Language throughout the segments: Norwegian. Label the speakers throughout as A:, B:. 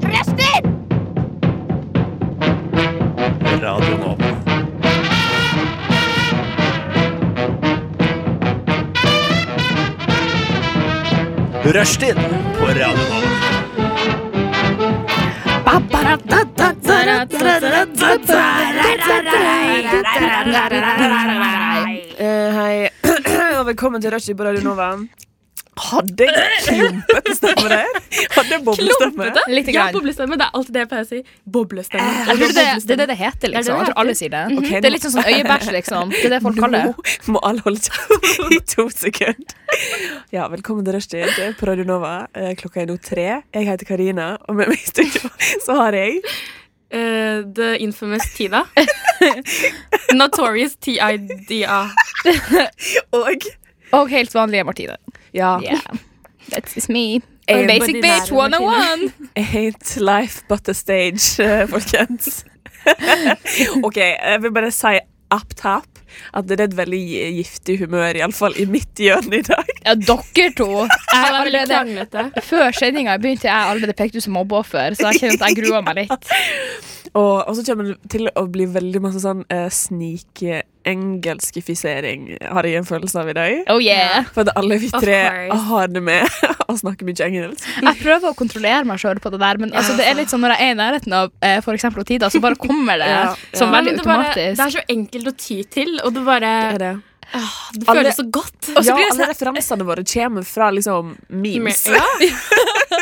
A: Prester!
B: Radio Nova. Rushtid på Radio Nova.
C: Eh, hei, og velkommen til Rushdie på Radio Nova. Hadde jeg klumpete stemme der? Hadde jeg boblestemme?
D: Klumpete?
E: Litt
D: Ja,
E: grann.
D: boblestemme. Det er alltid det jeg pleier å si. Boblestemme.
E: Jeg tror det, det er det det heter,
D: det det
E: liksom. Jeg tror alle sier det.
C: Ok,
E: Det er litt sånn sånn øyebæsj, liksom. Det er det folk kaller det.
C: Nå må alle holde kjeft i to sekunder. Ja, velkommen til Rushtid på Radio Nova. Eh, Klokka er nå tre. Jeg heter Karina, og med meg i studio så har jeg
D: Eh, the infamous Tida. Notorious TIDA.
C: Og
E: Og helt vanlige Martine.
C: ja,
E: Yeah. That's is me.
C: Eh,
E: I'm basic
D: ordinære
E: bitch 101.
C: I hate life but the stage, eh, folkens. OK, jeg vil bare si up top at det er et veldig giftig humør, iallfall i mitt hjørne i dag.
E: Ja, dere to. Jeg
D: Han
E: har
D: er veldig
E: allerede,
D: kranglete.
E: før sendinga begynte jeg allerede pekt ut som mobbeoffer, så jeg kjenner at jeg gruer meg litt.
C: Og, og så kommer det til å bli veldig masse sånn uh, snik-engelskifisering, har jeg en følelse av i dag.
E: Oh yeah.
C: For at alle vi
D: Of
C: tre
D: course.
C: har det med å snakke mye engelsk.
E: Jeg prøver å kontrollere meg sjøl på det der, men altså, det er litt sånn når jeg er i nærheten av eh, for eksempel Tida, så bare kommer det
C: Ja,
E: som
C: ja.
D: Men
E: veldig
D: det, bare, det
E: automatisk.
D: er så enkelt å ty til, og det bare
C: Det er det.
D: Det
C: Alle-
D: føles så godt.
E: Og så
C: Ja, altså,
E: blir det
C: alle sånn referansene våre kommer fra liksom memes.
D: Ja.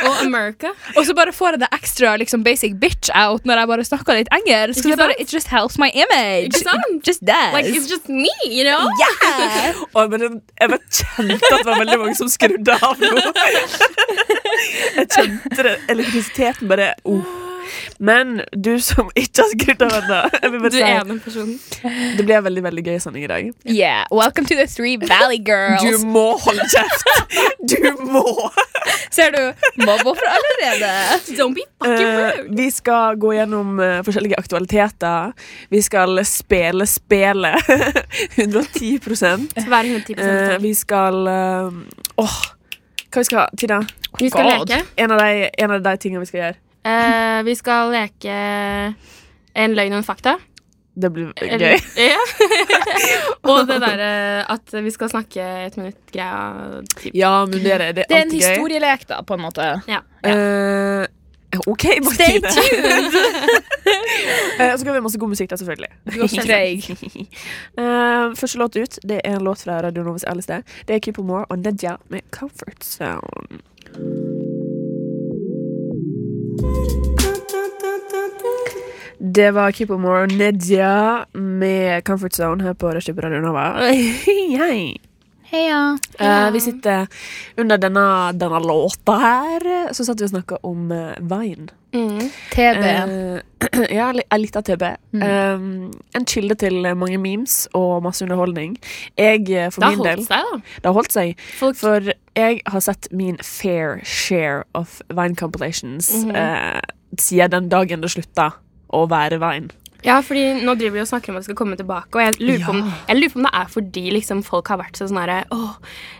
D: Og America.
E: Og så bare får jeg det ekstra liksom, basic bitch out når jeg bare snakker litt engelsk.
D: Ikke
E: Så det bare,
D: sant?
E: It just helps my image.
D: Ikke sant?
E: Just that.
D: Like, it's just me, you know?
C: Og, men jeg- jeg bare kjente at det var veldig mange som skrudde av nå. Jeg kjente det. Elektrisiteten bare oh. Men du som ikke har skrudd av ennå, jeg vil bare
D: Du er
C: si,
D: den personen.
C: det blir en veldig veldig gøy sending i dag.
E: yeah, welcome to the Three Valley
C: Du
E: Girls.
C: må holde kjeft! Du må!
E: Ser du? Mobber for allerede.
D: Don't be fucking
C: Eh,
D: rude.
C: vi skal gå gjennom eh, forskjellige aktualiteter. Vi skal spille spelet 110
D: Vær 110
C: Eh,
D: takk.
C: Vi skal eh, Åh, hva vi skal Tina,
D: Vi skal
E: God.
D: leke.
C: en av, de, en av de tingene vi skal gjøre.
D: Eh, vi skal leke en løgn og en fakta.
C: Det blir gøy.
D: Eller- Ja. og det derre at vi skal snakke et minutt-greia. typ.
C: Ja, men det er det. Det
E: Det
C: er
E: er en
C: alltid gøy.
E: historielek, da, på en måte.
D: Ja.
C: Eh, OK,
E: Stay
C: Martine.
E: tuned!
C: Eh, Og så skal vi ha masse god musikk, da, selvfølgelig.
E: Du er treig.
C: Eh, første låt ut det er en låt fra Radio Novas alle sted. Det er Keeper Moore og Nedja med Comfort Zone. Det var Keeper Moore og Nedja med Comfort Zone her på Rushdie på Radio Nova. Hei.
E: Heia.
C: Eh, vi sitter under denne, denne låta her, så satt vi og snakka om eh, Vine.
D: Mm.
E: TB.
C: Eh, ja, li- ei lita TB. Eh, en kilde til mange memes og masse underholdning. Jeg, eh, for
D: Det har
C: min del
D: holdt seg, da.
C: Det har holdt seg.
D: Folk
C: For jeg har sett min fair share of Vine compilations eh, siden den dagen det slutta å være Vine.
D: Ja, fordi nå driver vi og snakker om at det skal komme tilbake, og jeg lurer, på, om, jeg lurer på om det er fordi liksom, folk har vært så sånn herre oh,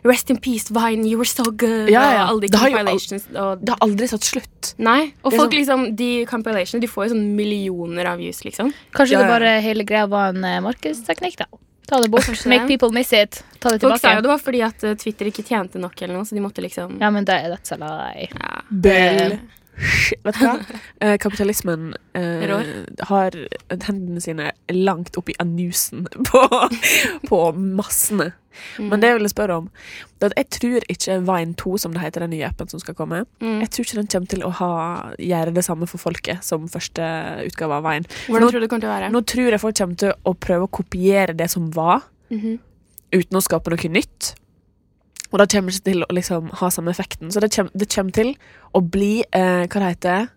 D: Rest in peace, Vine, you were so good.
C: Ja, ja.
D: Og alle de
C: Det har jo al-
D: compilations og
C: Det har aldri satt slutt.
D: Nei. Og
C: Det er
D: folk,
C: sånn-
D: liksom, de compilationene de får jo sånn millioner av views, liksom.
E: Kanskje
C: Ja,
E: det
C: ja.
E: bare hele greia var en eh, markedsteknikk, da. Ta det bort.
D: Kanskje det.
E: Make people miss it. Ta det
D: Folk sa jo
E: tilbake.
D: det var fordi at eh, Twitter ikke tjente nok, eller noe, så de måtte liksom
E: Ja, men det, that's a lie.
D: ja.
C: Bell. Vet du hva? Eh, kapitalismen eh,
D: Rår.
C: har hendene sine langt oppi anusen på, på massene. Men det jeg ville spørre om det er at Jeg tror ikke Vine 2, som det heter, den nye appen som skal komme, jeg tror ikke den kommer til å ha, gjøre det samme for folket som første utgave av Vine. For
D: Hvordan
C: nå,
D: tror du det kommer til å være?
C: nå tror jeg folk kommer til å prøve å kopiere det som var, uten å skape noe nytt. Og det kommer ikke til å liksom, ha samme effekten. Så det kommer, det kommer til å bli eh, Hva det heter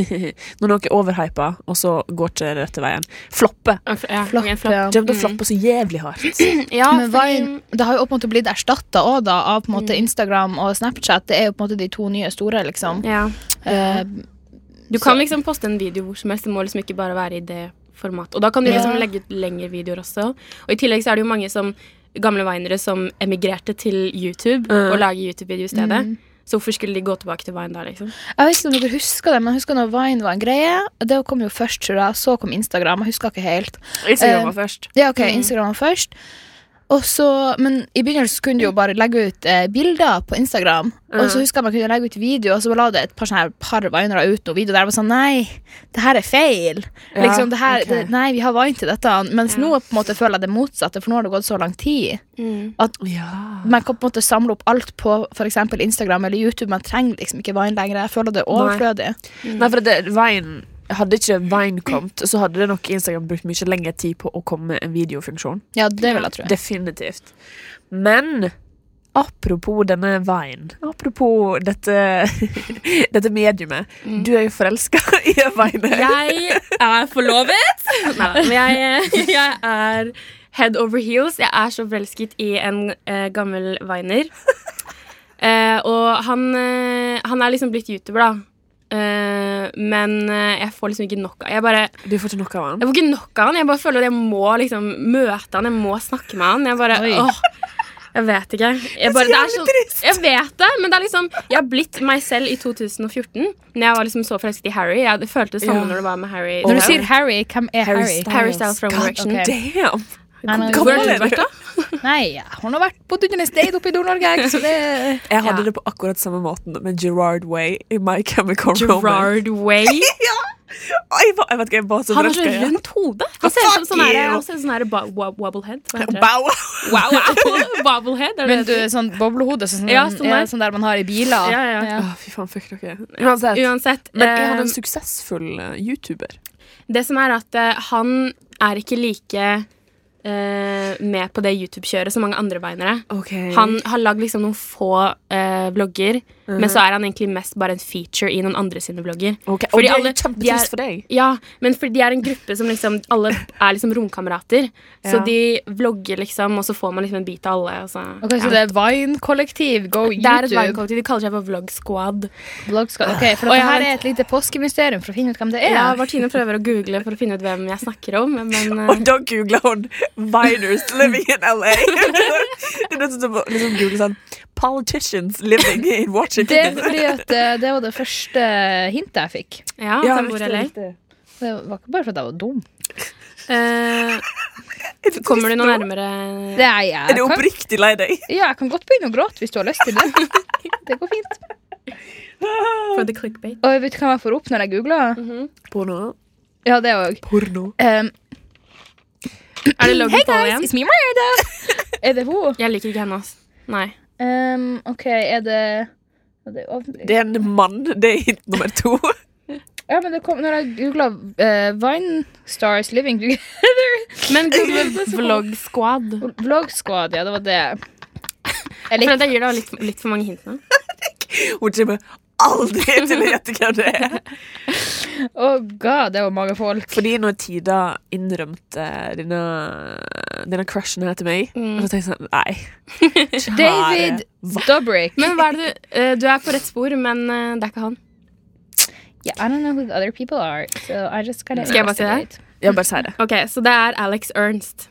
C: Når noe er overhypa, og så går ikke det rette veien. Floppe.
D: Ja, f- ja,
E: Flopp,
D: ok, flopp.
E: ja.
C: Det kommer til å floppe så jævlig hardt.
D: Ja, Mm.
E: Men Vine, det har jo på en måte blitt erstatta av på en måte Instagram og Snapchat. Det er jo på en måte de to nye store, liksom.
D: ja.
E: Eh,
D: Du kan liksom poste en video hvor som helst. Det må liksom ikke bare være i det formatet. Og da kan du liksom
E: Ja.
D: legge ut lengre videoer også. Og i tillegg så er det jo mange som gamle vinere som emigrerte til YouTube og lager YouTube-video i stedet. Så hvorfor skulle de gå tilbake til Vine da, liksom?
E: Jeg vet ikke om dere husker det, men jeg husker når Vine var en greie. Det kom jo først, tror jeg. Så kom Instagram. Jeg husker ikke helt.
C: Instagram
E: Eh,
C: var først.
E: Ja, ok, Instagram var først. Og så, men i begynnelsen så kunne du jo bare legge ut eh, bilder på Instagram. Og så husker jeg man kunne legge ut video, og så la det et par, sånne her par vinere ut noen video der det var sånn Nei, det her er feil.
C: Ja,
E: liksom, det her,
C: ok.
E: det, nei, vi har vine til dette. Mens nå på en måte føler jeg det motsatte, for nå har det gått så lang tid.
C: Mm. Ja.
E: Man kan på en måte samle opp alt på f.eks. Instagram eller YouTube. Man trenger liksom ikke Vine lenger. Jeg føler det er overflødig.
C: Nei, for det, Vine, hadde ikke Vine kommet, så hadde det nok Instagram brukt mye lengre tid på å komme med en videofunksjon.
E: Ja, det vil jeg tro.
C: Definitivt. Men apropos denne veien, apropos dette, dette mediumet. Du er jo forelska i en veine.
D: Mm. Jeg er forlovet. Nei, men jeg, eh, jeg er head over heels. Jeg er så forelsket i en eh, gammel viner. Eh, og han, eh, han er liksom blitt youtuber, da. Eh, men eh, jeg får liksom ikke nok av Jeg bare,
C: Du får ikke nok av han.
D: jeg får ikke nok av han. Jeg bare føler at jeg må liksom møte han, jeg må snakke med han. Jeg bare,
E: Oi.
D: åh jeg vet ikke. Jeg bare, det er så Jeg vet det, men det er liksom Jeg har blitt meg selv i 2014. Når jeg var liksom så forelsket i Harry. Jeg følte det samme
C: Ja.
D: når det var med Harry.
E: Når du
D: Styles.
E: sier Harry, hvem er
C: Harry
E: Harry?
C: Styles.
D: Harry Styles from
C: God
D: Direction.
E: Ok.
C: Damn!
E: Han er-
C: Hvor gammel er du?
E: Nei, jeg har nå vært bodd under en stein oppe i Nord-Norge, jeg, så det
C: Jeg hadde
D: Ja.
C: det på akkurat samme måten med Gerard Way i My Chemical Romance.
D: Gerard Way.
C: Å, Jeg, var, jeg vet ikke, jeg var så
D: Han har så
C: forelska i han.
D: rundt hode. Han ser ut som
C: Fuck
D: sånn her-
C: you.
D: han ser ut som sånn her bo- wo- wobblehead. Hva heter det?
C: Bow wow!
D: Wow, wow. Wobblehead, er det
E: Men
D: det
E: du,
D: det heter?
E: sånn boblehode, sånn,
D: Ja, sånn der.
E: der man har i biler.
D: Ja, ja, ja.
C: Å, fy faen, fuck dere. Uansett.
D: Uansett.
C: Men er han
D: eh,
C: en suksessfull eh, YouTuber?
D: det som er at eh, han er ikke like eh, med på det YouTube-kjøret som mange andre beinere.
C: Okay.
D: Han har lagd liksom noen få eh, vlogger, men
E: Mhm.
D: så er han egentlig mest bare en feature i noen andre sine vlogger.
C: okay. Og
D: Fordi
C: det er
D: alle-
C: jo kjempetrist for deg.
D: Ja, men fordi de er en gruppe som liksom Alle er liksom romkamerater. Så
C: Ja.
D: de vlogger liksom, og så får man liksom en bit av alle. Og så,
E: Ok, Så
D: ja.
E: det er Vine-kollektiv, go
D: Det er et
E: YouTube.
D: vine-kollektiv. De kaller seg for Vlog Squad.
E: Bloggskap. Ok, For
D: Å,
E: dette
D: ja,
E: her
D: vent.
E: er et lite påskemysterium for å finne ut hvem det er.
D: Ja, Martine prøver å google for å finne ut hvem jeg snakker om, men eh,
C: Og da googla hun 'Viners living in LA'. det er nesten som å liksom google sånn 'Politicians living in
E: Det er
C: Washington'.
E: fordi at eh, det var det første hintet jeg fikk.
D: ja,
C: Ja,
D: han bor i LA.
C: riktig.
E: Det var ikke bare fordi jeg var dum.
D: Eh, kommer du noe nærmere
E: Det er, jeg,
C: Er du
E: kan,
C: oppriktig lei deg?
E: ja, jeg kan godt begynne å gråte hvis du har lyst til det. Det går fint.
D: for the clickbait?
E: Og vet du hva jeg får opp når jeg googler?
D: Mhm.
C: Porno.
E: Ja, det òg.
C: Porno.
E: Um,
D: Er det Logan
E: Ehm, hey
D: Paul
E: guys,
D: igjen?
E: it's me, Miranda. er det hun?
D: Jeg liker ikke henne, ass. Nei.
E: Ehm, OK, er det er det overblikk?
C: Det er en mann. Det er hint nummer to.
E: Ja, men det kom Når jeg googla Vine Stars Living Together
D: Men google Vlog Squad.
E: Vlog Squad, ja, det var det. Jeg
D: For
E: likte
D: at jeg gir deg litt, litt for mange hint nå.
C: Hun kommer aldri til å gjette hvem det er.
E: Oh god, det var mange folk.
C: Fordi når Tida innrømte denne, denne crushen her til meg,
D: Mm.
C: og så tenkte jeg sånn Nei. Kjære
E: David
C: hva-
E: Dobrik.
D: Men hva er det du eh, Du er på rett spor, men eh, det er ikke han.
E: Yeah, I don't know who the other people are, so I just gotta
D: Skal jeg bare si det?
E: investigate.
C: Ja, bare si det.
D: Ok, Så det er Alex Ernst.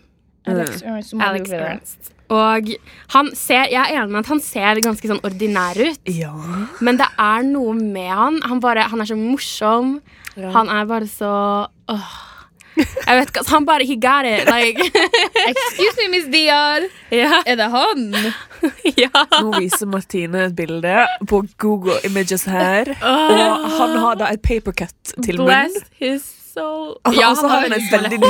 E: Alex Ernst, må
D: Alex
E: google det.
D: Ernst. Og han ser, jeg er enig med at han ser ganske sånn ordinær ut,
C: Ja.
D: men det er noe med han. Han, bare, han er så morsom. Han er bare så åh. Jeg vet ikke, altså, Han bare He got it. Like,
E: Excuse me, Miss Diar.
D: ja,
E: Er det han?
D: ja.
C: Nå viser Martine et bilde på Google Images her. Og han har da et papercut til munn.
D: Bless his soul.
C: Og
D: Ja,
C: så har Altså, han liksom-
D: har-
C: en veldig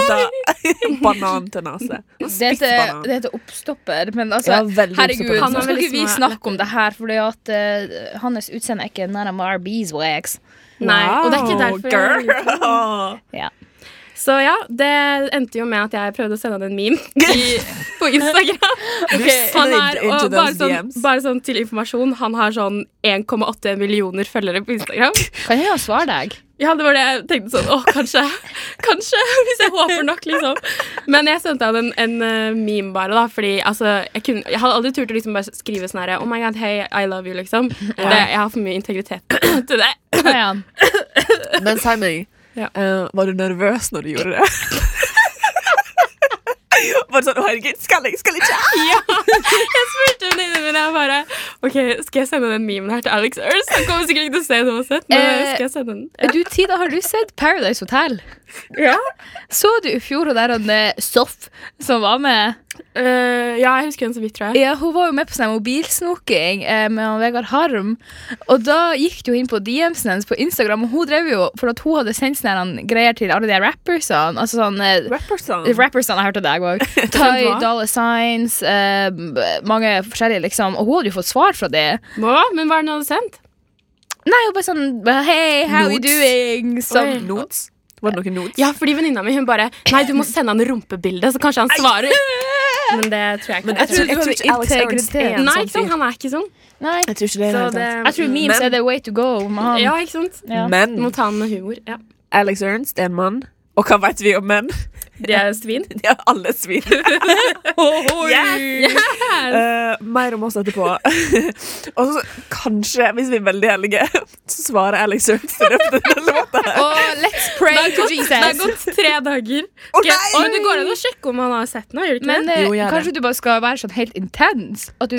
C: liten banan til nese.
E: Det heter,
C: Spissbanan.
E: det heter oppstopper, men altså,
C: Ja, veldig
E: herregud,
C: oppstopper.
D: Han
E: nå
D: har
E: skal
D: veldig
E: ikke vi
D: små
E: snakke om det her, for hans utseende er ikke nærmere beeswax.
D: Nei, og det er ikke
C: Wow,
D: derfor jeg-
C: Girl.
E: Ja.
D: Så ja, det endte jo med at jeg prøvde å sende han en meme i, på Instagram. Han er,
C: slid into
D: og
C: those
D: bare, sånn,
C: DMs.
D: bare sånn til informasjon, han har sånn 1,8 millioner følgere på Instagram.
E: Kan jeg svare deg?
D: Ja, det var det jeg tenkte sånn, åh, kanskje, kanskje, hvis jeg håper nok, liksom. Men jeg sendte han en, en eh, meme bare, da, fordi altså, jeg, kunne, jeg hadde aldri turt å liksom bare skrive sånn her, oh my god, hey, I love you, liksom. Det, jeg har for mye integritet til det.
E: Hva er han?
C: Men si meg,
D: Ja.
C: eh, var du nervøs når du gjorde det? Bare sånn, å herregud, skal jeg, skal jeg ikke?
D: Ja, jeg spurte venninnene mine. Jeg bare Ok, skal jeg sende den memen her til Alex Earls? Han kommer sikkert ikke til å se den uansett, men
E: Eh,
D: skal jeg sende den?
E: Du, Tida, har du sett Paradise Hotel?
D: Ja.
E: Så du i fjor hun der han, eh, Soff som var med?
D: Eh, ja, jeg husker den så vidt, tror jeg.
E: Ja, Hun var jo med på sånn mobilsnoking eh, med han Vegard Harm. Og da gikk det jo inn på DM-en hennes på Instagram, og hun drev jo for at hun hadde sendt sånne her, han, greier til alle de her rappersene. Altså sånn eh,
C: Rappersong.
E: Rappersene jeg hørte deg òg. Ty,
C: Hva?
E: Dollar Signs, eh, mange forskjellige, liksom. Og hun hadde jo fått svar fra det.
D: Hva? Men hva er den du hadde sendt?
E: Nei, hun bare sånn Hey, how you
C: Notes.
E: doing? Sånn.
C: Nodes? Var det noen nodes?
D: Ja, fordi venninna mi hun bare Nei, du må sende han rumpebildet, så kanskje han svarer. Men det tror jeg ikke.
C: Men jeg tror, jeg tror ikke Alex Ernst
E: Integritet.
C: er en
D: Nei,
C: sånn
D: ikke sant?
C: fyr.
D: han er ikke sånn.
E: Nei.
C: Jeg tror ikke det er
D: Så
C: helt
D: det,
C: sant.
E: Jeg tror memes
C: Men-
E: er the way to go. Man.
D: Ja, ikke sant?
E: Ja.
D: Du må
C: Men
D: ta den med humor. Ja.
C: Alex Ernst er en mann. Og hva vet vi om menn?
D: Det er svin.
C: De har alle svin.
D: Yes!
C: Eh, mer om oss etterpå. og så kanskje, hvis vi er veldig heldige, så svarer Alex Ernst i løpet av denne låta. her.
E: Og let's pray
D: Det har
E: to
D: gått- Det har
E: Jesus.
D: gått tre dager.
C: Å,
D: Skal jeg-
C: nei!
D: Oi, det går an å sjekke om han har sett den. Gjør det ikke
E: Men
D: det?
E: eh,
C: Jo, gjør det.
E: kanskje du bare skal være sånn helt intens? At du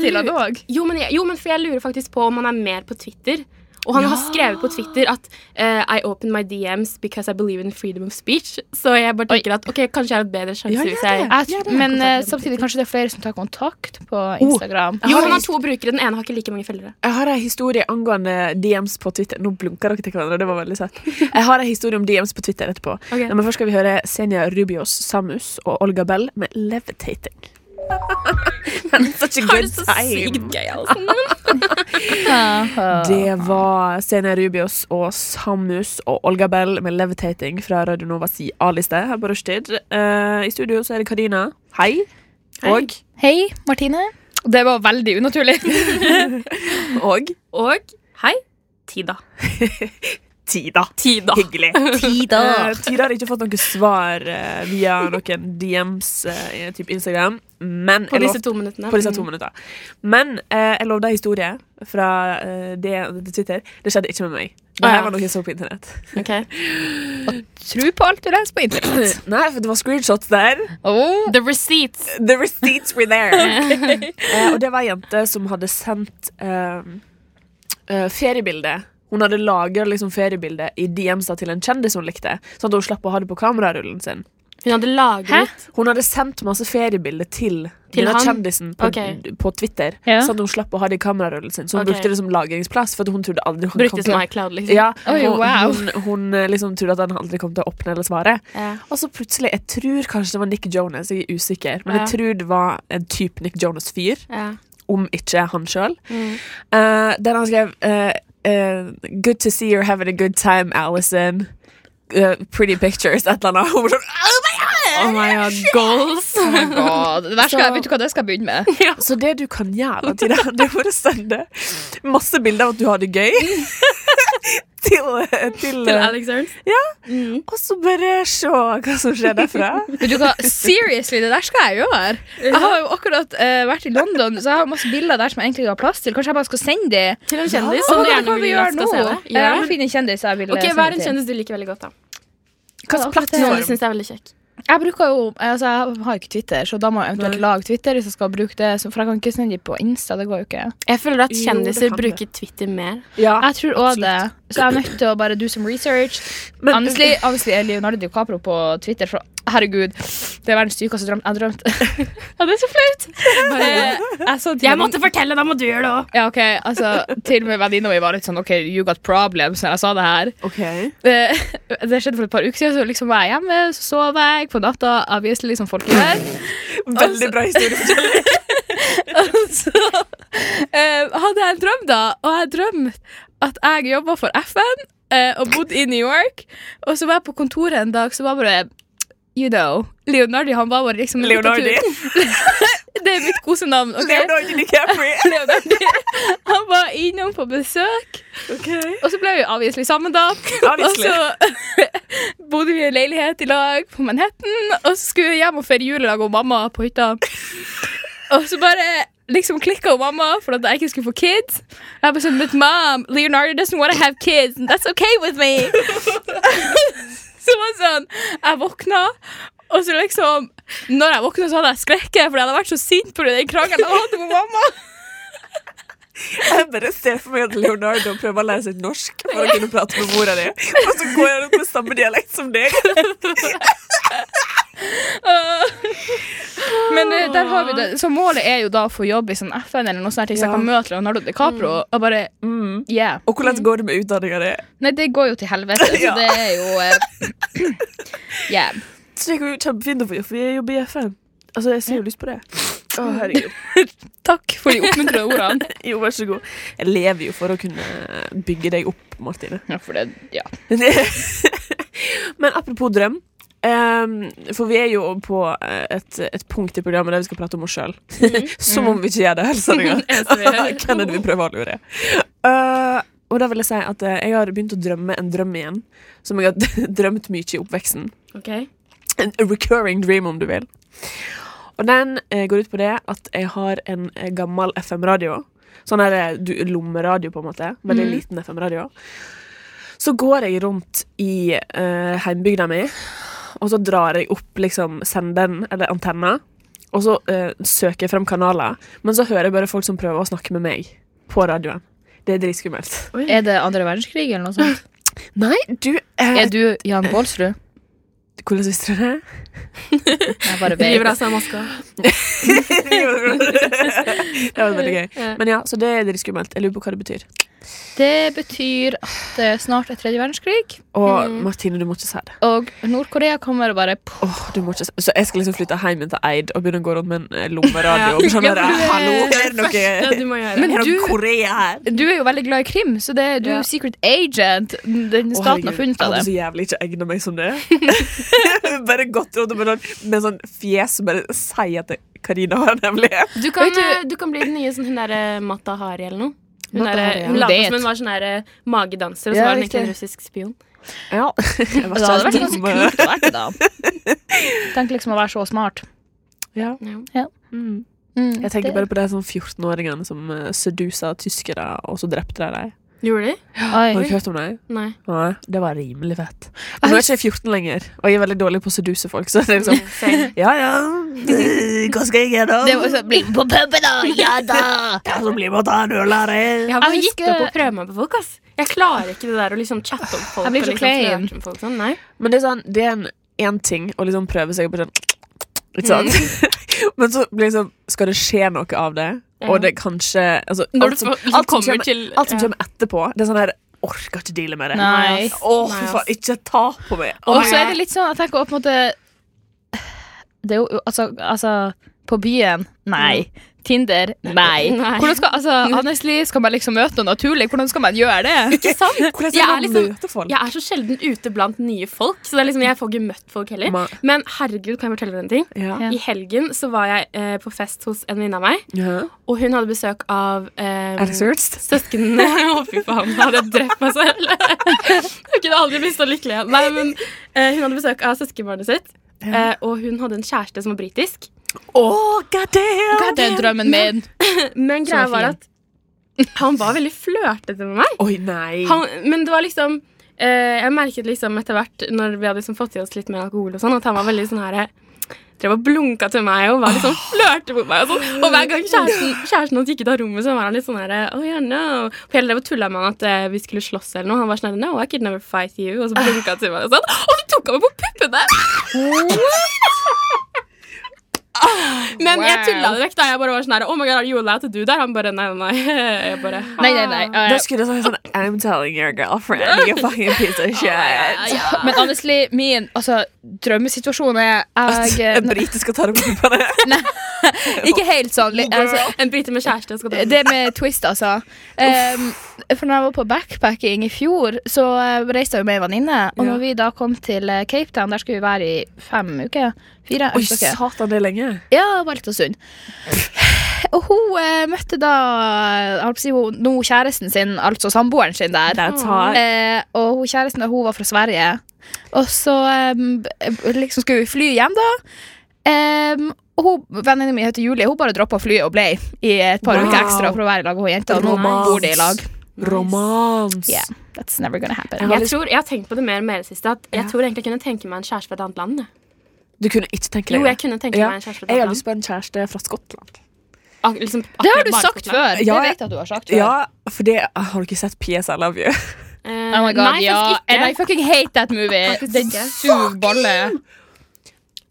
D: jeg
E: til han
D: lurer-
E: òg?
D: Jo men, jeg, jo, men for jeg lurer faktisk på om han er mer på Twitter. Og han har skrevet på Twitter at eh, I open my DMs because I believe in freedom of speech. Så jeg bare tenker at ok, kanskje jeg har et bedre sjanse
C: Ja, gjør
D: hvis jeg
C: det.
E: Jeg
C: Ja, det
E: tr-
C: er
E: Men
C: kontakt Oh.
E: eh,
C: med
E: samtidig kanskje det er flere som tar kontakt på Instagram.
D: Jo,
C: Har
D: han har
C: du-
D: to brukere. Den ene har ikke like mange følgere.
C: Jeg har en historie angående DMs på Twitter. Nå blunker dere til hverandre. det var veldig søtt. Jeg har en historie om DMs på Twitter etterpå.
D: Ok.
C: Nei, Men først skal vi høre Senja Rubios, Samus og Olga Bell med 'Levitating'. Such a
D: Har det
C: good
D: så sykt
C: time.
D: gøy, altså.
E: Aha.
C: Det var Senja Rubios og Samus og Olga Bell med 'Levitating' fra Radio Novas A-liste her på Rushtid. Eh, I studio så er det Karina. Hei.
D: Hei.
C: Og,
E: Hei, Martine. Det var veldig unaturlig.
C: og
D: Og hei, Tida.
C: Tida.
D: Tida.
C: Hyggelig.
E: Tida.
C: Eh, Tida har ikke fått noe svar eh, via noen DMs eh, i typ Instagram. Men
D: På
C: jeg
D: disse
C: lovte-
D: to minuttene. Mm.
C: på disse to minutter. Men eh, jeg lovde en historie fra eh, det, det Twitter. Det skjedde ikke med meg. Det
D: Å,
C: her
D: ja.
C: var noe jeg så på internett.
D: Ok.
E: Tro på alt du leser på internett.
C: Nei, for det var screenshots der.
E: Oh.
D: The receipts.
C: The receipts were there. eh, og det var ei jente som hadde sendt eh, eh, feriebilde. Hun hadde lagra liksom, feriebilde i DMs-er til en kjendis hun likte, sånn at hun slapp å ha det på kamerarullen sin.
D: Hun hadde
E: Hæ?
D: lagret
C: Hun hadde sendt masse feriebilder til,
D: Til
C: denne
D: han?
C: kjendisen på,
D: Ok.
C: på Twitter.
E: Ja.
C: Sånn at hun slapp å ha det i kamerarullen sin. Så hun
D: Ok.
C: brukte det som lagringsplass. For at hun trodde aldri hun
D: Brukte
C: kom til
D: som
C: å-
D: iCloud, liksom.
C: ja,
E: Oi,
C: hun,
E: wow.
C: hun, hun eh, liksom trodde at han aldri kom til å åpne eller svare.
D: Ja.
C: Og så plutselig, jeg tror kanskje det var Nick Jonas, jeg er usikker, men
D: Ja.
C: jeg tror det var en type Nick Jonas-fyr,
D: Ja.
C: om ikke han sjøl,
D: Mm.
C: der han skrev eh, eh, Good to see you're having a good time, Alison. Eh, pretty pictures, et eller annet. Hun var sånn, oh my god!
D: Oh my god, goals!
E: God. Det der skal, vet du hva det skal jeg begynne med?
C: Så det du kan gjøre til det, det er å sende masse bilder av at du har det gøy. til, til,
D: Mm.
C: eh,
D: Til Alex Ernst.
C: Og så bare se hva som skjer derfra.
E: Vet du hva? Seriously, det der skal jeg gjøre. Jeg har jo akkurat eh, vært i London, så jeg har masse bilder der som jeg egentlig ikke har plass til. Kanskje jeg bare skal sende de?
D: Til en kjendis
E: Å,
D: som
E: hva
D: du gjerne
E: kan vi
D: vil
E: gjøre
D: at
E: nå?
D: skal se det.
E: Eh, Jeg
D: Ja.
E: må finne en kjendis jeg vil
D: Ok,
E: eh,
D: Hva
E: sende
D: er en
E: til.
D: kjendis du liker veldig godt, da?
C: Hva slags
D: Som du
C: plattform?
D: syns er veldig kjekk?
E: Jeg bruker jo, altså jeg har ikke Twitter, så da må jeg eventuelt lage Twitter. hvis jeg skal bruke det, så- For jeg kan ikke sende de på Insta. det går jo ikke.
D: Jeg føler at
C: Jo, det
D: kjendiser
C: kan
D: bruker Twitter mer.
C: Ja,
E: Jeg tror også det, så jeg er nødt til å bare do some research.
C: men,
E: Honestly, honestly er Leonardo DiCaprio på Twitter, for herregud, det er verdens sykeste drøm. Jeg drømte Ja, det er så flaut! Eh, Jeg, så til
D: Jeg måtte fortelle, da må du gjøre det òg!
E: Ja, ok, altså, Til og med venninna mi var litt sånn OK, you got problems, når jeg sa det her.
C: OK.
E: Eh, Det skjedde for et par uker siden, så liksom var jeg hjemme, så sov jeg på natta, obviously, liksom folk er der.
C: Veldig bra historie.
E: så Altså, eh, hadde jeg en drøm, da. Og jeg drømte at jeg jobba for FN eh, og bodde i New York. Og så var jeg på kontoret en dag, så var bare You know. Leonardi, han var bare liksom en
C: Leonardi.
E: diktatur. Det er mitt kosenavn. ok?
C: Leonardo DiCaprio.
E: Leonardi. Han var innom på besøk, og så ble vi avviselig sammen, da.
C: Obviously.
E: Og så bodde vi i en leilighet i lag på Manhattan, og så skulle vi hjem og feire jul i lag med mamma på hytta. Og så bare liksom klikka mamma for at jeg ikke skulle få kids. Og jeg bare sånn But mom, Leonardo doesn't want to have kids, and that's okay with me. så var det sånn Jeg våkna,
A: Og så liksom Når jeg våkna, så hadde jeg skrekket, for jeg hadde vært så sint pga. den krangelen jeg hadde med mamma.
C: Jeg bare ser for meg at Leonardo prøver å lære seg norsk for å kunne prate med mora di, og så går jeg rundt med samme dialekt som deg.
A: Men
E: Eh, Der har vi det. Så målet er jo da å få jobb i sånn FN eller noe sånt, her, så jeg
C: Ja.
E: kan møte Leonardo DiCaprio. Og bare,
C: Mm.
E: yeah.
C: Og hvordan går det med utdanninga di?
E: Nei, det går jo til helvete, så
C: Ja.
E: det er jo eh, Yeah.
C: Så det går jo kjempefint å få jobb, for jeg jobber i FN. Altså, jeg ser jo lyst på det. Å, herregud.
A: Takk for de oppmuntrende ordene.
C: Jo, vær så god. Jeg lever jo for å kunne bygge deg opp, Martine.
E: Ja, for det, ja.
C: Men apropos drøm. ehm, for vi er jo på eh, et, et punkt i programmet der vi skal prate om oss sjøl. Som om vi ikke gjør det hele sendinga. Hvem er det vi prøver å lure? Eh, og da vil jeg si at eh, jeg har begynt å drømme en drøm igjen. Som jeg har drømt mye i oppveksten.
D: Ok.
C: En recurring dream, om du vil. Og den eh, går ut på det at jeg har en eh, gammel FM-radio. Sånn her eh, du- lommeradio, på en måte. Veldig liten FM-radio. Så går jeg rundt i eh, heimbygda mi, og så drar jeg opp liksom senderen, eller antenna, og så eh, søker jeg frem kanaler. Men så hører jeg bare folk som prøver å snakke med meg på radioen. Det er dritskummelt.
E: Er det andre verdenskrig eller noe sånt?
C: Nei, du eh,
E: Er du Jan Baalsrud?
C: Hvordan visste du det?
E: Jeg bare
D: River
E: vet.
D: av seg maska.
C: det var veldig gøy.
D: Ja.
C: Men ja, så det er litt skummelt. Jeg lurer på hva det betyr.
E: Det betyr at det snart er tredje verdenskrig,
C: Og
E: Mm.
C: Martine, du må ikke si det.
E: og Nord-Korea kommer og bare
C: Åh, du må ikke si. Så jeg skal liksom flytte hjem igjen til Eid og begynne å gå rundt med en eh, lommeradio. og bli sånn
E: Ja,
C: der,
E: for du er-
C: Hallo, er det noe
D: Ja, du må gjøre
E: Men
D: det.
C: Er det
E: du-
C: noe Korea her?
E: Du er jo veldig glad i krim, så det er du
C: Ja.
E: er secret agent. Den
C: Å,
E: staten
C: herregud,
E: har funnet av
C: Jeg hadde
E: det.
C: så jævlig ikke egna meg som det. bare gått rundt med, noen, med sånn fjes som bare sier at det- Karina har en hemmelighet.
D: Du kan,
E: Vet du-
D: eh, du kan bli den nye sånn hun derre Mata Hari eller noe. Hun,
C: Mata
D: derre-
C: Hari, ja.
D: hun
E: Hun
D: lot
E: vet.
D: som hun var sånn derre magedanser, og så
C: Ja,
D: var hun egentlig
C: riktig.
D: en russisk spion.
C: Ja. Jeg var
E: Altså, Det hadde vært
C: ikke
E: ganske
C: dum, eh.
E: kult å være det, da. Tenk liksom å være så smart.
C: Ja.
E: Ja.
C: Mm.
E: Mm,
C: Jeg tenker
E: det-
C: bare på de sånn 14-åringene som eh, sedusa tyskere, og så drepte de dem.
D: Gjorde de?
E: Oi.
C: Har du ikke hørt om dem?
D: Nei.
C: Nei, det var rimelig fett. Og nå er ikke jeg 14 lenger, og jeg er veldig dårlig på å seduse folk. Så det er liksom,
D: Same.
B: Ja, ja. Hva skal jeg gjøre?
E: Det var sånn, Bli med på puben, da! Ja da!
B: Ja, så blir man ta en øl her.
D: Altså,
B: eh.
D: Jeg har bare
E: Jeg
D: gitt
E: husker-
D: opp å prøve meg på folk. ass Jeg klarer ikke det der å liksom chatte om folk.
E: Jeg blir så
D: og
E: klein.
D: liksom flørte med folk sånn. Nei.
C: men det er sånn, det er en, en ting å liksom prøve seg på sånn Ikke sant?
B: Mm.
C: men så blir liksom, skal det skje noe av det, og det kanskje altså,
D: Når du
C: alt, som,
D: får-
C: alt, som
D: kommer
C: kommer,
D: til-
C: alt som
D: ja.
C: kommer etterpå, det er sånn her Orker ikke deale med det.
E: Nei.
C: Åh, fy
D: Nei, ass.
C: faen, ikke ta på meg. Åh,
E: Og så er det litt sånn, jeg tenker på en måte Det er jo altså, altså På byen? Nei. Tinder? Mm. Nei.
D: Nei.
E: Hvordan skal, altså, honestly, skal man liksom møte noe naturlig? Hvordan skal man gjøre det?
D: Ikke sant?
C: Hvordan
D: Jeg
C: skal
D: er
C: man
D: liksom-
C: møte folk?
D: Jeg er så sjelden ute blant nye folk, så det er liksom, jeg får ikke møtt folk heller.
C: Ma-
D: Men herregud, kan jeg fortelle deg en ting?
C: Ja.
E: Ja.
D: I helgen så var jeg eh, på fest hos en venninne av meg,
C: Ja.
D: og hun hadde besøk av eh,
C: Er det seriøst?
D: Søsknene Å, fy faen, da hadde jeg drept meg selv. jeg kunne aldri blitt så lykkelig igjen. Nei, men eh, Hun hadde besøk av søskenbarnet sitt, eh, og hun hadde en kjæreste som var britisk.
C: Åh, god damn!
E: Det er drømmen min.
D: Men
E: Som er
D: greia var at han var veldig flørtete med meg.
C: Oi, nei.
D: Han, men det var liksom eh, Jeg merket liksom etter hvert, når vi hadde liksom fått i oss litt mer alkohol, og sånn, at han var veldig sånn her eh, Drev og blunka til meg og var liksom flørte mot meg. Og, sånn. og hver gang kjæresten, kjæresten hans gikk ut av rommet, så var han litt sånn her eh, Oh, yeah, no. For jeg drev og tulla med han at eh, vi skulle slåss eller noe. Han var sånn her No, I could never fight you. Og så blunka han til meg og sånn. Og så tok han meg på puppene! Men jeg
E: Wow.
D: tulla det vekk. da Jeg bare var sånn her Oh my god, are you allowed to do that? Han bare Nei, nei, nei. Jeg bare
E: Nei, nei, nei.
C: Da skulle jeg sagt sånn I'm telling your girlfriend, you fucking piece of shit.
E: Men honestly, min altså, drømmesituasjon er Altså, jeg,
D: eh,
C: En brite skal ta det på puppene.
E: Ikke helt sånn. li- Altså,
D: En brite med kjæreste skal ta
E: Eh, det med twist, altså. Um, for når jeg var på backpacking i fjor, så eh, reiste jeg jo med en venninne. Og
C: Ja.
E: når vi da kom til eh, Cape Town, der skulle vi være i fem uker. Fire?
C: Oi,
E: jeg husker ikke.
C: satan, det er lenge.
E: Ja, det var litt av stund. Og hun eh, møtte da jeg holdt på å si, hun, nå kjæresten sin, altså samboeren sin der.
C: That's hot.
E: Eh, og hun kjæresten da, hun var fra Sverige. Og så em, liksom skulle vi fly hjem, da. Em, og hun, Venninna mi heter Julie. Hun bare droppa flyet og ble i et par
C: Wow.
E: uker ekstra for å være i lag med hun jenta. Og nå
C: Romans.
E: bor de i lag.
C: Romans.
E: Yeah, that's never gonna happen.
C: Jeg har
D: Jeg,
C: lyst-
D: tror, jeg har tenkt på det mer og mer i det siste. At jeg
C: Ja.
D: tror egentlig jeg kunne tenke meg en kjæreste fra et annet land. jeg.
C: Du kunne ikke tenke
D: Jo,
C: deg
D: jeg
C: det.
D: kunne tenke
C: Ja.
D: meg en kjæreste fra
C: Jeg har
D: Skottland.
C: lyst på en kjæreste fra Skottland.
D: Ak liksom,
E: Det har
D: akkurat
E: du
D: bare
E: sagt
D: Skottland.
E: før.
C: Ja,
E: det
C: jeg-
E: vet jeg at du har sagt før.
C: Ja, for det Har du ikke sett PS I Love You?
D: Eh,
E: Oh my god,
D: nei,
E: ja.
D: faktisk
E: And
D: ikke.
E: I fucking hate that movie.
D: Faktisk
E: Den
D: ikke.
E: suger balle.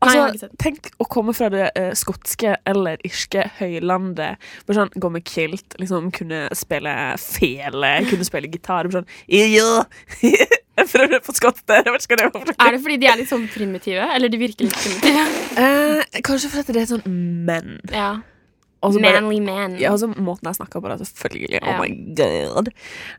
D: Nei, jeg har ikke
C: Altså,
D: sett
C: tenk å komme fra det eh, skotske eller irske høylandet. Bare sånn, Gå med kilt, liksom kunne spille fele, kunne spille gitar. bare Sånn, ja, jeg prøvde på skotsk der, jeg vet ikke hva det var. for noe.
D: Er det fordi de er litt sånn primitive? Eller de virker litt primitive?
C: Eh, kanskje fordi det er sånn menn.
D: ja.
C: Og så bare-
D: Manly man.
C: Ja, altså Måten jeg snakker på, da, selvfølgelig.
D: Mm. Ja.
C: Oh my god.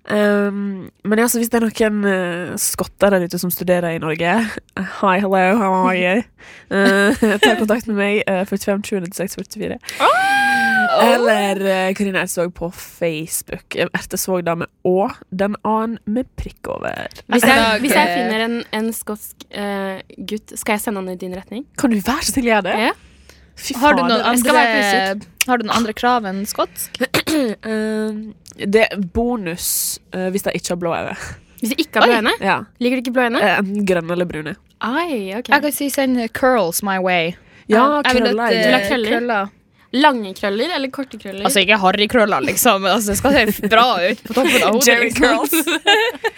C: Um, men ja, så hvis det er noen eh, skotter der ute som studerer i Norge Hi, hello, how are you? Eh, ta kontakt med meg. eh, 45 20 96 44. Eller eh, Karina Ertsvåg på Facebook. Eh, Ertesvåg da med Å, den A-en med prikk over.
D: Hvis jeg,
E: Altså,
D: hvis jeg
E: eh,
D: finner en, en skotsk eh, gutt, skal jeg sende han i din retning?
C: Kan du være så snill gjøre det?
D: Ja.
C: Fy
E: Har du noen
C: fader.
D: skal være
E: andre, har du noen andre krav enn skotsk?
C: Eh, det er bonus eh, hvis jeg ikke har blå øyne.
D: Hvis jeg ikke har blå
E: Oi.
D: øyne?
C: Ja.
D: Liker du ikke blå øyne?
C: Eh, Enten grønne eller brune.
D: Ai, ok.
E: Jeg kan si send curls my way.
C: Ja,
E: Jeg vil at,
C: krøller er
E: eh,
D: Vil du
C: greit.
D: ha krøller? Lange krøller eller korte krøller?
E: Altså ikke harrykrøller, liksom. men Altså, det skal se bra ut på toppen av hodet.
C: Jerry
E: Liksom.
C: curls.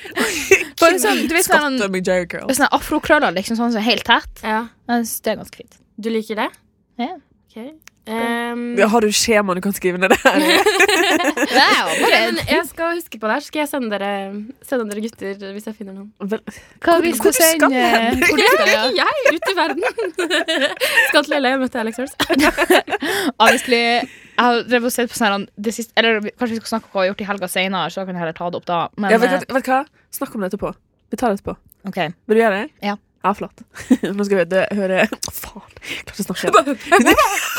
E: Bare sånn, du vet sånn,
C: Skotter med jerry curls.
E: sånn afrokrøller, liksom, sånn som er helt tett.
D: ja.
E: Jeg synes det er ganske fint.
D: Du liker det?
E: Ja.
D: Ok. Ehm,
C: Har du skjema du kan skrive ned der?
E: Wow,
D: ok, men jeg skal huske på det her. Skal jeg sende dere, sende dere gutter hvis jeg finner noen?
E: Hva
C: Hvor-
E: vi
C: hvor
E: skal
C: skal
E: sende
C: den?
E: hvor du skal, ja.
D: Jeg, ut i verden! skal til LA og møte Alex Rolls.
E: Honestly, jeg har drevet og sett på sånn her, det siste, Eller kanskje vi skal snakke om hva vi har gjort i helga senere, så kan jeg heller ta det opp da. Men
C: Ja, vet,
E: eh,
C: vet, vet du hva? Snakk om det etterpå. Vi tar det etterpå.
E: OK.
C: Vil du gjøre det?
E: Ja.
C: Ja, flott. Nå skal vi høre, høre Å, Faen, jeg klarte å snakke igjen.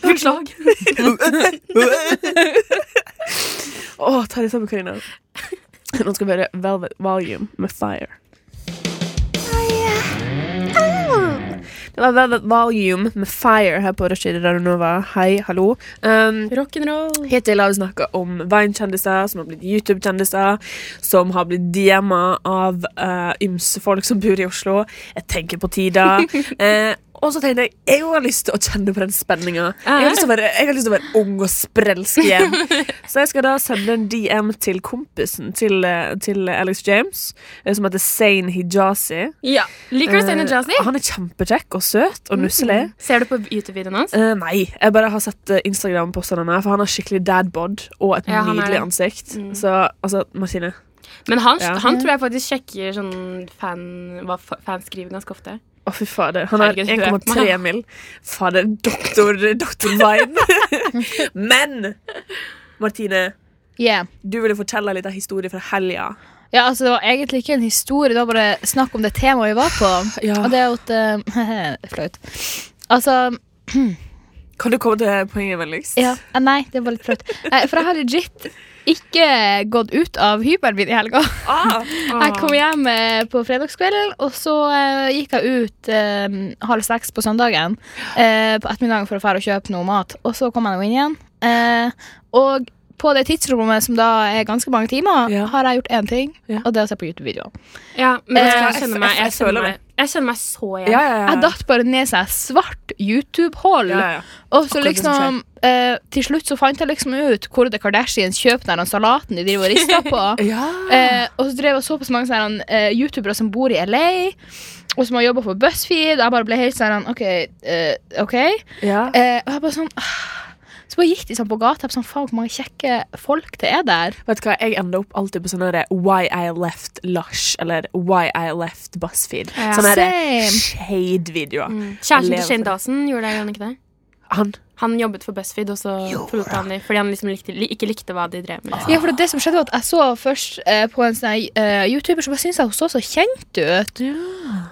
D: Beklager.
C: Å, ta det sammen, Karina. Nå skal vi høre Velvet Volume med Fire. Det var Velvet Volume med Fire her på Rushtid i Radionova. Hei, hallo. Um,
D: Rock'n'roll.
C: Hittil har vi snakka om Vine-kjendiser som har blitt YouTube-kjendiser, som har blitt DM-a av eh, ymse folk som bor i Oslo. Jeg tenker på tida. Eh, og så tenkte jeg jeg har lyst til å kjenne på den spenninga. Jeg, har lyst til å være- jeg har lyst til å være ung og sprelsk igjen. Så jeg skal da sende en DM til kompisen til, eh, til Alex James, eh, som heter Zain Hijazi.
D: Ja. Liker du Mm. Zainab Jazzy?
C: Eh, han er kjempekjekk og søt og nusselig.
D: Ser du på YouTube-videoen hans?
C: Eh, nei, jeg bare har sett eh, Instagram-postene hennes, for han har skikkelig dadbod og et
D: Ja, han er
C: nydelig
D: det. Mm.
C: ansikt. Så altså, Martine
D: Men han,
C: Ja.
D: han tror jeg faktisk sjekker sånn fan, hva fa- fans skriver ganske ofte.
C: Å, fy fader. Han har
D: Herregud, hun er på meg,
C: 1,3 mil. Fader, doktor, doktor Vine. Men Martine,
E: Yeah.
C: du ville fortelle en liten historie fra helga.
E: Ja, altså Det var egentlig ikke en historie, det var bare snakk om det temaet vi var på.
C: Ja.
E: Og det er jo et eh, Flaut. Altså
C: Kan du komme til poenget vennligst?
E: ja. eh, Nei, det var litt flaut. Nei, For jeg har legit ikke gått ut av hybelen min i helga.
C: Ah,
E: Jeg kom hjem eh, på fredagskvelden, og så eh, gikk jeg ut eh, halv seks på søndagen eh, på ettermiddagen for å fære og kjøpe noe mat. Og så kom jeg nå inn igjen. Eh, og på det tidsrommet, som da er ganske mange timer,
C: Ja.
E: har jeg gjort én ting,
C: Ja.
E: og det er å se på YouTube-videoer.
D: Ja, men vet du hva,
C: Eh,
D: jeg kjenner meg,
C: jeg-
D: jeg
C: jeg føler
D: kjenner meg, jeg kjenner meg så igjen.
C: ja, ja, ja.
E: Jeg datt bare ned seg svart YouTube-hold.
C: ja, ja.
E: Og så
C: Akkurat det som
E: liksom eh, Til slutt så fant jeg liksom ut hvor det Kardashian kjøper den her salaten de driver og rister på.
C: ja.
E: Eh, og så drev jeg og så på så mange sånne, eh, youtubere som bor i LA, og som har jobba for BuzzFeed. Og jeg bare ble helt sånn OK. eh, ok
C: ja.
E: Eh, Og jeg bare sånn ah. Så bare gikk de sånn på gata. Jeg bare sånn, Faen, hvor mange kjekke folk det er der.
C: Vet du hva, Jeg ender opp alltid på sånne der Why I Left Lush eller Why I Left BuzzFeed. Sånn
D: Ja.
C: Sånne der
E: Same.
C: shade-videoer.
D: Mm. Kjæresten til
C: Lever for
D: Shane
C: det.
D: Dawson gjorde det, gjorde han ikke det?
C: Han
D: Han jobbet for BuzzFeed, og så forlot han dem fordi han liksom likte, li, ikke likte hva de drev med. Liksom.
E: Ja, for det som skjedde var at Jeg så først eh, på en sånn eh, YouTuber som bare syntes at hun så så kjent ut.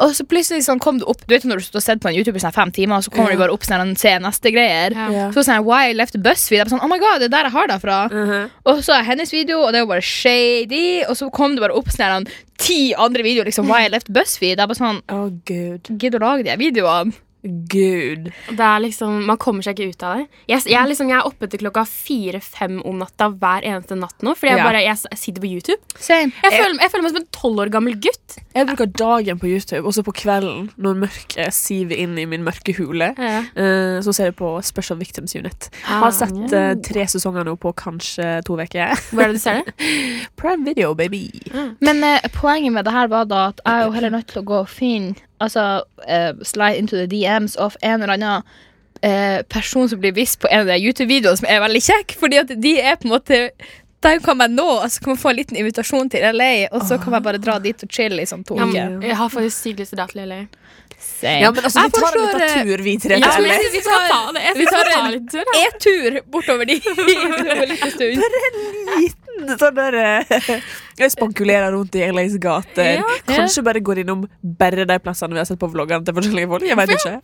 E: Og så plutselig sånn kom det opp Du vet når du har sett på en YouTuber i sånn fem timer, og så kommer
C: Ja.
E: du bare opp sånn se neste-greier.
D: Ja.
C: Ja.
E: Så sånn, Why I left BuzzFeed? Jeg bare sånn, oh my god, det er der jeg har det fra. Og så er hennes video, og det er jo bare shady. Og så kom det bare opp sånn her, ti andre videoer. liksom, Why I left BuzzFeed? Jeg bare sånn,
C: Å, gud.
E: Gidder å lage de her videoene?
C: Gud.
D: Det er liksom, Man kommer seg ikke ut av det. Jeg, jeg, er liksom, jeg er oppe til klokka fire-fem om natta hver eneste natt nå. Fordi jeg,
C: Ja.
D: bare, jeg, s- jeg sitter på YouTube.
E: Same.
D: Jeg føler, jeg føler meg som en tolv år gammel gutt.
C: Jeg bruker dagen på YouTube, og så på kvelden, når mørket siver inn i min mørke hule,
D: Ja.
C: eh, så ser jeg på Special Victims Unit. Har
D: Ah,
C: sett eh, tre sesonger nå på kanskje to uker.
D: Hvor er det du ser det?
C: Prime video, baby.
E: Men eh, poenget med det her var da at jeg er jo heller nødt til å gå og finne Altså eh, slide into the DMs of en eller annen eh, person som blir vist på en av de YouTube-videoene som er veldig kjekk, fordi at de er på en måte der kan man nå, og så kan man få en liten invitasjon til LA, og så kan man bare dra dit og chille i sånn to
D: Ja, men
E: uker.
D: Jeg har faktisk sykt lyst til å dra til LA.
C: Ja, men altså,
A: Jeg
C: vi tar en
A: forstår,
C: liten tur, vi tre.
A: ja,
C: til
A: men-
C: LA.
A: vi skal ta
D: det. Jeg
A: vi tar en-
D: litt tur.
A: E-tur bortover dit om en liten stund.
C: Sånn der eh, Jeg spankulerer rundt i LAs gater.
D: Ja.
C: Kanskje bare går innom bare de plassene vi har sett på vloggene til forskjellige folk. Jeg vet ikke.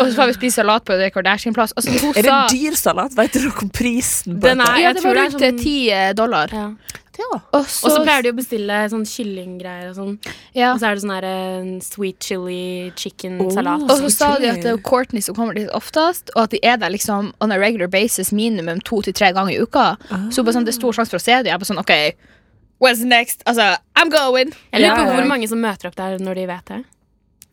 E: Og så får vi spise salat på Khloe Kardashian-plass. Altså, hun
C: Er det
E: sa
C: dyr salat? Vet dere om prisen på
D: Den er-
C: dette?
E: Ja,
D: Jeg
E: det
D: tror
E: var
D: det er
E: rundt eh,
D: sånn-
E: 10 dollar.
D: Ja.
C: Ja.
E: Og
D: Og så
E: så
D: pleier de å bestille sånn kyllinggreier og sånn.
E: ja.
D: Og så er det sånn her eh, sweet chili chicken
C: Oh.
D: salat.
E: Og så sa de at det er
C: Utrolig.
E: Courtney som kommer dit oftest, og at de er der liksom on a regular basis minimum to til tre ganger i uka. Så bare sånn, det er stor sjanse for å se dem. Jeg bare sånn, OK, what's next? Altså, I'm going!
D: Jeg lurer på
C: Ja, ja.
D: hvor mange som møter opp der når de vet det.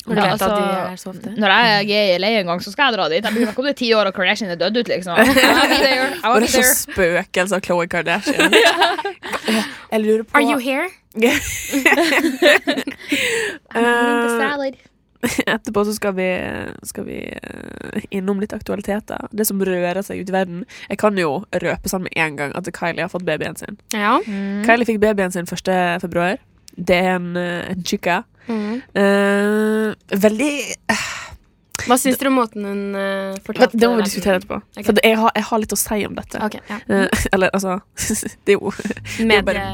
D: Når de
E: Ja,
D: vet at de
E: altså-
D: er så ofte.
E: Når jeg er i LA en gang, så skal jeg dra dit. Jeg blir om det er ti år og Kardashian er dødd ut, liksom. I'll be there.
C: Og
E: I'll
C: det
E: be
C: er så
E: there.
C: spøkelse av Khloé Kardashian. Jeg lurer på
D: Are you here?
C: eh, Etterpå så skal vi, skal vi eh, innom litt aktualiteter. Det som rører seg ute i verden. Jeg kan jo røpe sånn med en gang at Kylie har fått babyen sin.
D: Ja.
E: Mm.
C: Kylie fikk babyen sin 1. februar. Det er en, eh, en chica.
D: Mm.
C: Eh, veldig
D: Hva syns dere om måten hun eh, fortalte
C: Vent, Det må vi
D: verden?
C: diskutere etterpå.
D: Ok.
C: For det- jeg har, jeg har litt å si om dette.
D: Ok, ja.
C: Eh, eller altså Det er jo
D: Medie...
C: bare-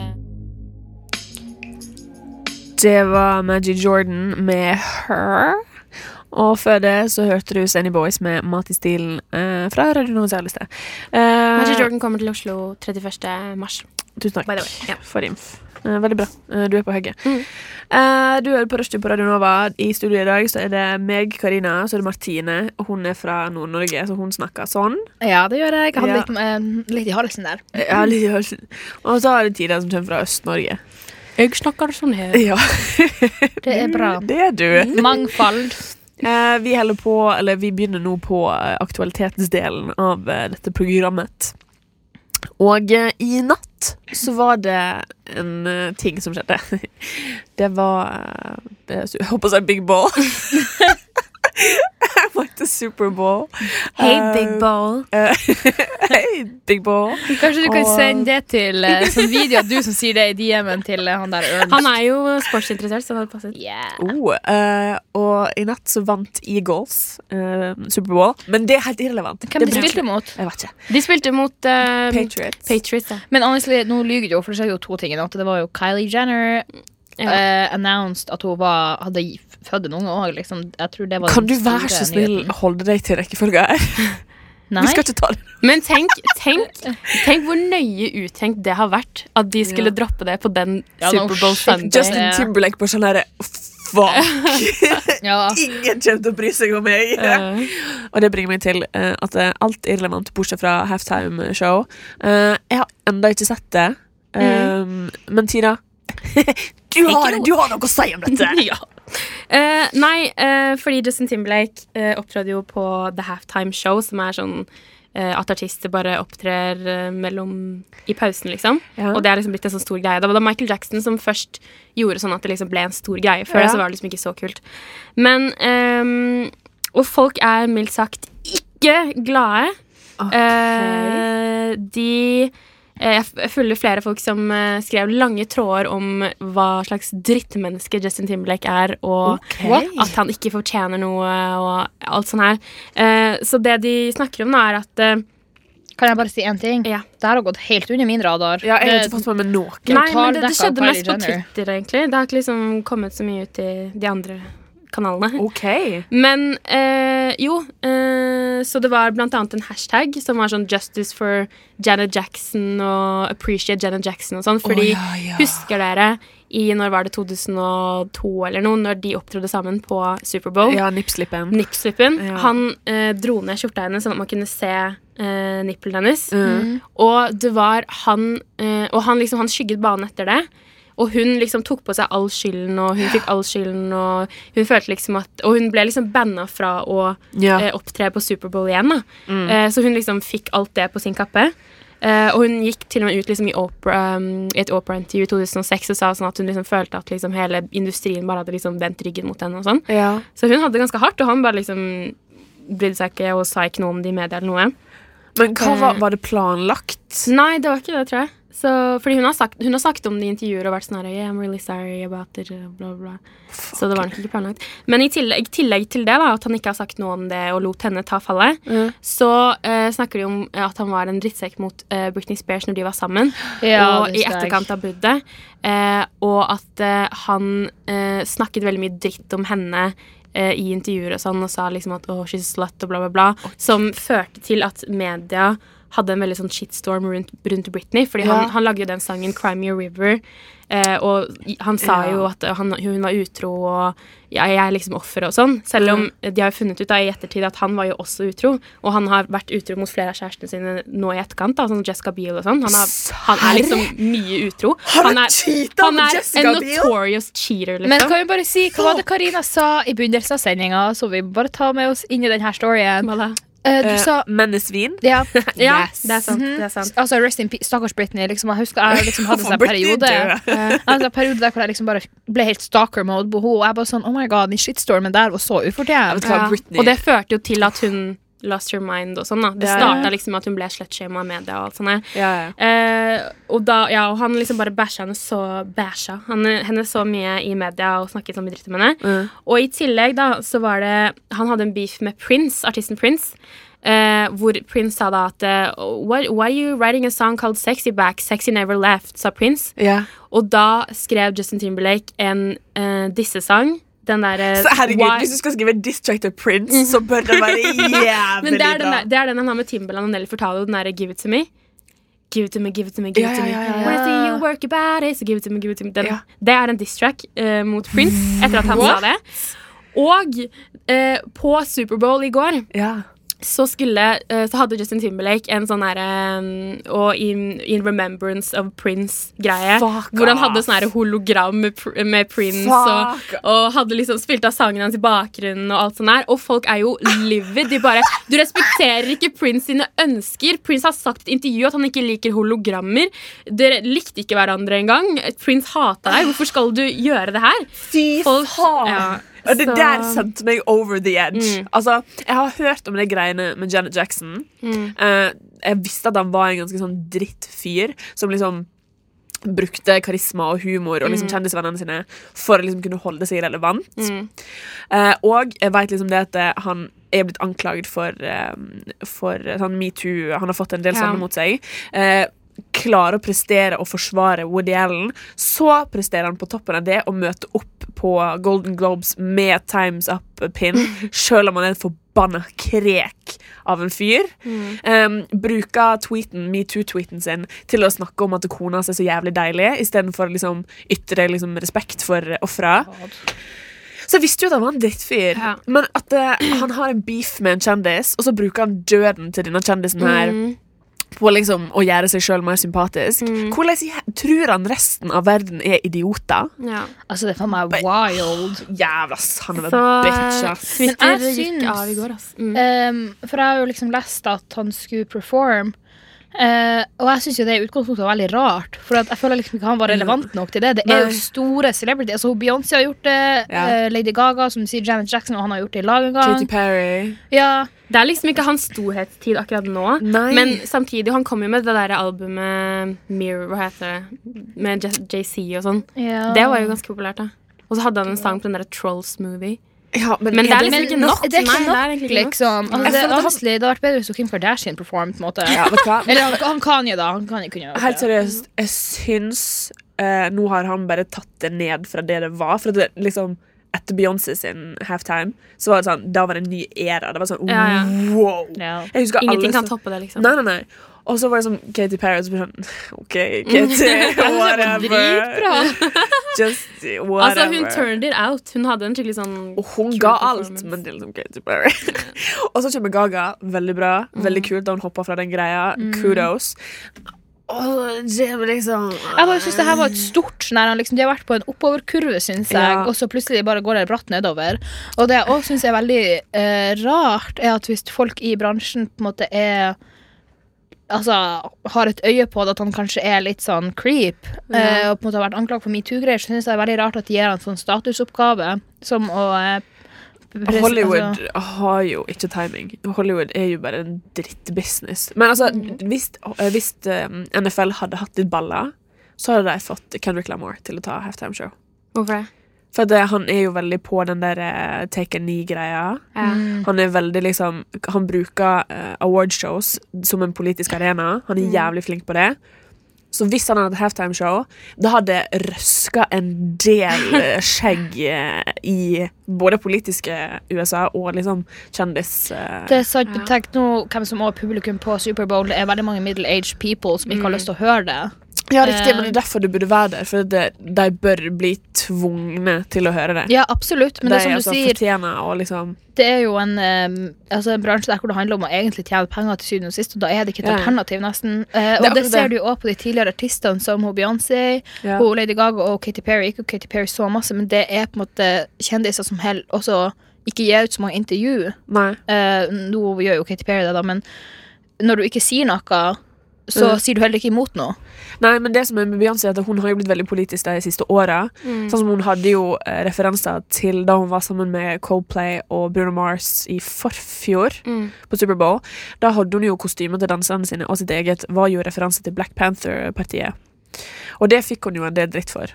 C: Det var Maggie Jordan med Her. Og før det så hørte du Sandy Boys med Mat i stilen eh, fra Radio Nova Særligste.
D: Magic Jordan kommer til Oslo 31. mars.
C: Tusen
D: By the
C: takk
D: way. Ja.
C: for inf. Eh, veldig bra. Eh, du er på hugget.
D: Mhm.
C: Eh, du hører på Rushdie på Radio Nova. I studio i dag så er det meg, Karina, så er det Martine. Og hun er fra Nord-Norge, så hun snakker sånn.
E: Ja, det gjør jeg. Jeg hadde
C: Ja.
E: litt, eh, litt i halsen der.
C: Jeg har litt i halsen. Og så har du Tida, som kommer fra Øst-Norge.
D: Jeg snakker sånn her.
C: Ja,
E: Det er bra.
C: det er du.
D: Mm.
E: Mangfold.
C: Eh, vi, holder på, eller vi begynner nå på eh, aktualitetsdelen av eh, dette programmet. Og eh, i natt så var det en eh, ting som skjedde. Det var eh, det- Jeg holdt på å si Big Ball. Jeg mente Superball.
D: Hey, big ball.
C: Eh, Hey, Big Ball.
E: Kanskje du
C: kan
E: kan
C: sende
E: sende det til uh, sånn video du som sier det i DM-en til eh, han der
D: Han er jo sportsinteressert, så det hadde passet.
C: Oh, eh, og i natt så vant Eagles eh, Superball. Men det er helt irrelevant.
E: Hvem
C: Det
E: de
C: bryr-
E: spilte mot?
C: Jeg vet ikke.
D: De spilte mot eh,
C: Patriots.
D: Patriots, ja.
E: Men honestly, nå lyger du jo, for det skjedde jo to ting i natt. Det var jo Kylie Jenner
D: Ja.
E: eh, announced at hun var, hadde gi- født en unge òg. Liksom. Jeg tror det var
C: Kan du
E: den store
C: være så snill
E: nyheten.
C: holde deg til rekkefølga her?
E: Nei.
C: Vi skal ikke ta det.
D: Men tenk, tenk, tenk hvor nøye uttenkt det har vært at de skulle droppe det på den
E: Ja, no
D: Superbowl
E: shit.
D: Sunday.
E: Just-
C: Justin
E: Ja.
C: Timberlake på sånn herre Fuck!
E: Ja.
C: Ingen kommer til å bry seg om meg!
D: Eh,
C: Og det bringer meg til eh, at eh, alt er irrelevant bortsett fra halftime-show. Eh, jeg har ennå ikke sett det.
E: Mm.
C: Um, Men Tina, du har, du har noe å si om dette!
D: ja. Eh, nei, eh, fordi Justin Timberlake eh, opptrådde jo på The Halftime Show, som er sånn eh, at artister bare opptrer eh, mellom i pausen, liksom.
C: Ja.
D: Og det er liksom blitt en sånn stor greie. Det var da Michael Jackson som først gjorde sånn at det liksom ble en stor greie. Før det
C: Ja.
D: så var det liksom ikke så kult. Men ehm, Og folk er mildt sagt ikke glade. Eh, de eh, Jeg f- jeg følger flere folk som eh, skrev lange tråder om hva slags drittmenneske Justin Timberlake er, og
E: What?
D: at han ikke fortjener noe og alt sånt her. Eh, så det de snakker om, da, er at eh,
E: Kan jeg bare si én ting?
D: Ja.
E: Det her har gått helt under min radar.
C: Ja, jeg sånn- har ikke
E: Det-
C: fått med meg noe.
E: Total
D: Nei, men det, det
E: dekka av
D: skjedde mest på
E: Kylie Jenner.
D: Twitter, egentlig. Det har ikke liksom kommet så mye ut i de andre kanalene.
C: Ok.
D: Men eh, jo, eh, så det var blant annet en hashtag som var sånn 'Justice for Janet Jackson' og 'Appreciate Janet Jackson' og sånn. Fordi,
C: ja, ja.
D: husker dere i når var det 2002 eller noe, når de opptrådte sammen på Superbowl?
C: Ja, nippslippen.
E: Mm.
D: Nippslippen.
C: Ja.
D: Han eh, dro ned skjorta hennes sånn at man kunne se eh, nippelen hennes.
C: Mm.
E: Mm.
D: Og det var han eh, Og han liksom, han skygget banen etter det. Og hun liksom tok på seg all skylden, og hun fikk all skylden, og hun følte liksom at Og hun ble liksom banna fra å
C: Ja. Mm.
D: eh, opptre på Superbowl igjen, da. Eh, så hun liksom fikk alt det på sin kappe. Eh, og hun gikk til og med ut liksom i, opera, um, i et operaintervju i 2006 og sa sånn at hun liksom følte at liksom hele industrien bare hadde liksom vendt ryggen mot henne og sånn.
C: ja.
D: Så hun hadde det ganske hardt, og han bare liksom brydde seg ikke og sa ikke noe om det i media eller noe.
C: Men hva
E: eh.
C: var, var det planlagt?
E: Mm,
D: Nei, det var ikke det, tror jeg. Så, fordi hun har, sagt, hun har sagt om det i intervjuer og vært sånn her yeah, I'm really sorry about it, uh, bla, bla. Så det var nok ikke planlagt. Men i tillegg, i tillegg til det, da, at han ikke har sagt noe om det og lot henne ta fallet, så eh, snakker de om at han var en drittsekk mot eh, Britney Spears når de var sammen.
E: Ja,
D: og i
E: det husker jeg.
D: etterkant av bruddet. Eh, og at eh, han eh, snakket veldig mye dritt om henne eh, i intervjuer og sånn, og sa liksom at oh, she's a slut og bla, bla, bla. Som førte til at media hadde en veldig sånn shitstorm rundt, rundt Britney. Fordi han, han lagde jo den sangen 'Crime Your River'. Eh, og i- han sa jo at eh, han, hun var utro, og ja, jeg er liksom offeret og sånn. Selv om eh, de har jo funnet ut da, i ettertid at han var jo også utro. Og han har vært utro mot flere av kjærestene sine nå i etterkant. Da, sånn som Jessica Biel og sånn. Han, har- han er liksom mye utro.
B: Har
D: Han
B: du
D: er,
B: cheata
D: han
B: med
D: er
B: Jessica
D: en
B: Biel?
D: notorious cheater,
E: Men
D: liksom.
E: kan vi bare si, hva var det Karina sa i begynnelsen av sendinga? Så vi bare tar med oss inn i denne storyen.
D: Hva da?
E: Eh, du
C: Eh,
E: sa
C: Mennesvin?
E: ja,
D: Ja,
C: Yes.
D: det er sant. Det er sant.
E: altså Rest in peace, stakkars Britney. Liksom, jeg husker jeg liksom hadde en sånn
C: Britney
E: periode
C: død.
E: Jeg hadde en periode der hvor jeg liksom bare ble helt stalker-mode på henne. Og jeg bare sånn, oh my god, den shitstormen der var så
C: Vet
E: ufortjent.
C: du hva,
D: Ja.
C: Britney
D: Og det førte jo til at hun lost her mind og sånn. da Det
C: Ja, ja.
D: starta liksom med at hun ble slutshama i media. og alt sånt. her.
C: ja, ja.
D: Eh, og, da, ja, og han liksom bare bæsja henne så bæsja han, henne så mye i media og snakket så mye dritt om henne.
C: Mm.
D: Og i tillegg da, så var det Han hadde en beef med Prince, artisten Prince. eh, hvor Prince sa da at eh, why, why are you writing a song called Sexy Back? Sexy Never Left, sa Prince.
C: Ja.
D: Og da skrev Justin Timberlake en eh, dissesang. Den eh, derre
C: Så herregud, hvis du skal skrive diss track til Prince, så bør Mhm. det være
D: Men
C: jævlig
D: det er, den
C: bra.
D: der, det er den han har med Timberland og Nelly Furtado. Den derre Give it to me. Give it to me, give it to me, give
C: Ja,
D: it to me.
C: ja, ja, ja.
D: When I see you work about it, so give it to me, give it to me. Den,
C: Ja.
D: Det er en diss-track eh, mot Prince etter at han sa det. Og eh, på Superbowl i går
C: Ja.
D: så, skulle, eh, så hadde Justin Timberlake en sånn derre eh, Og in, in remembrance of Prince-greie.
C: Fuck
D: Hvor han
C: off.
D: hadde sånn her hologram med, pr med Prince.
C: Fuck.
D: Og, og hadde liksom spilt av sangen hans i bakgrunnen. Og alt sånt der Og folk er jo livid. De bare Du respekterer ikke Prince sine ønsker. Prince har sagt i et intervju at han ikke liker hologrammer. Dere likte ikke hverandre engang. Prince hata deg. Hvorfor skal du gjøre det her?
C: Fy
D: Folk-
C: faen!
D: ja,
C: Og det
D: så-
C: der sendte meg over the edge. Altså, Jeg har hørt om de greiene med Janet Jackson. Eh, jeg visste at han var en ganske sånn drittfyr som liksom brukte karisma og humor og liksom kjendisvennene sine for å liksom kunne holde seg relevant. Eh, og jeg vet liksom det at eh, han er blitt anklaget for, eh, for eh, sånn metoo. Han har fått en del
D: Ja.
C: sånne mot seg. Eh, klarer å prestere og forsvare Woody Allen. Så presterer han på toppen av det å møte opp på Golden Globes med Times Up-pin, selv om han er en forbanna krek av en fyr. Um, bruker tweeten, metoo-tweeten sin til å snakke om at kona hans er så jævlig deilig, istedenfor å liksom, ytre liksom, respekt for ofra. Så jeg visste jo at han var en drittfyr,
D: Ja.
C: men at eh, han har en beef med en kjendis, og så bruker han døden til denne kjendisen her på liksom å gjøre seg sjøl mer sympatisk. Hvordan jæ- tror han resten av verden er idioter?
D: Ja.
E: Altså, det er faen meg wild.
C: Jævla sanne
D: Så
C: bitch,
D: eh,
C: ass.
D: Twitter
E: Men jeg
D: gikk
E: syns-
D: av i går, altså. Mm.
E: Ehm, for jeg har jo liksom lest at han skulle performe. Eh, og jeg syns det i utgangspunktet var veldig rart. For at jeg føler liksom ikke han var relevant nok til det. Det er jo
C: Nei.
E: store celebrity. Altså, Beyoncé har gjort det,
C: Ja.
E: eh, Lady Gaga, som du sier, Janet Jackson, og han har gjort det i lag en gang.
C: Katy Perry.
E: Ja,
D: Det er liksom ikke hans storhetstid akkurat nå.
C: Nei.
D: Men samtidig, han kom jo med det der albumet Mirror, hva heter det? Med J- JC og sånn.
E: ja.
D: Det var jo ganske populært, da. Og så hadde han en sang på den der Trolls-movie.
C: Ja,
D: Men det er
E: Men
D: liksom ikke nok.
E: Det er ikke
D: Nei, det er
E: nok,
D: egentlig ikke nok.
E: liksom. Altså,
C: Jeg
E: det,
C: føler at han-
E: honestly, det hadde vært bedre hvis Kim Kardashian performed. På en måte.
C: ja, vet du hva?
E: Eller han, han Kanye, da. Han Kanye kunne jo gjort
C: Helt
E: det.
C: seriøst, jeg syns eh, Nå har han bare tatt det ned fra det det var. For at det, liksom etter Beyoncé sin halftime, så var det sånn, da var det en ny æra. Det var sånn,
D: Ja, ja.
C: wow!
E: Ja.
C: Jeg husker
D: Ingenting
C: alle
D: kan
C: som-
D: toppe det, liksom.
C: Nei, nei, nei. Og så var det sånn Katy Perry så ble sånn OK, Katy, whatever. Just whatever. Oh.
D: Altså, hun turned it out. Hun hadde en skikkelig sånn
C: Og hun ga alt, men det er liksom Katy Perry. og så kommer Gaga. Veldig bra.
E: Mm.
C: Veldig kult da hun hoppa fra den greia. Kudos. Og det var liksom
E: Jeg bare synes det her var et stort sånn her, liksom, De har vært på en oppoverkurve, syns jeg,
C: Ja.
E: og så plutselig bare går det bratt nedover. Og det jeg òg syns er veldig eh, rart, er at hvis folk i bransjen på en måte er Altså har et øye på det, at han kanskje er litt sånn creep, eh, og på en måte har vært anklaget for metoo-greier, så syns jeg det er veldig rart at de gir han en sånn statusoppgave som å eh, pres-
C: Hollywood
E: altså,
C: har jo ikke timing. Hollywood er jo bare en drittbusiness. Men altså,
E: Mm.
C: hvis, eh, hvis eh, NFL hadde hatt litt baller, så hadde de fått Kendrick Lamour til å ta halftime show.
D: Hvorfor det?
C: For det, han er jo veldig på den der eh, take a knee-greia.
D: Ja.
C: Han er veldig liksom Han bruker eh, awardshows som en politisk arena. Han er jævlig flink på det. Så hvis han hadde hatt halftimeshow, da hadde røska en del eh, skjegg eh, i både politiske USA og liksom kjendis... eh,
E: det er sant, men tenk nå hvem som også er publikum på Superbowl. Det er veldig mange middle-aged people som
C: Mm.
E: ikke har lyst til å høre det.
C: ja, riktig, men det er derfor du burde være der. For det, de bør bli tvungne til å høre det.
E: Ja, absolutt, men
C: de
E: det er som du
C: altså
E: sier,
C: fortjener å liksom
E: det er jo en, em, altså en bransje der hvor det handler om å egentlig tjene penger til syvende og sist, og da er det ikke et
C: Ja.
E: alternativ, nesten.
C: Det
E: Eh,
C: er
E: og det
C: akkurat
E: ser
C: det.
E: du jo også på de tidligere artistene som hun Beyoncé,
C: Ja.
E: hun Lady Gaga og Katy Perry. Ikke Katy Perry så masse, men det er på en måte kjendiser som heller også ikke gir ut så mange intervju.
C: Nei.
E: Eh, nå gjør jo Katy Perry det, da, men når du ikke sier noe, så
C: Mm.
E: sier du heller ikke imot noe.
C: Nei, men det som er med Beyoncé er at Hun har jo blitt veldig politisk de siste åra. Sånn som Hun hadde jo eh, referanser til da hun var sammen med Coldplay og Bruno Mars i forfjor på Superbowl. Da hadde hun jo kostymer til danserne sine, og sitt eget var jo referanse til Black Panther-partiet. Og det fikk hun jo en del dritt for.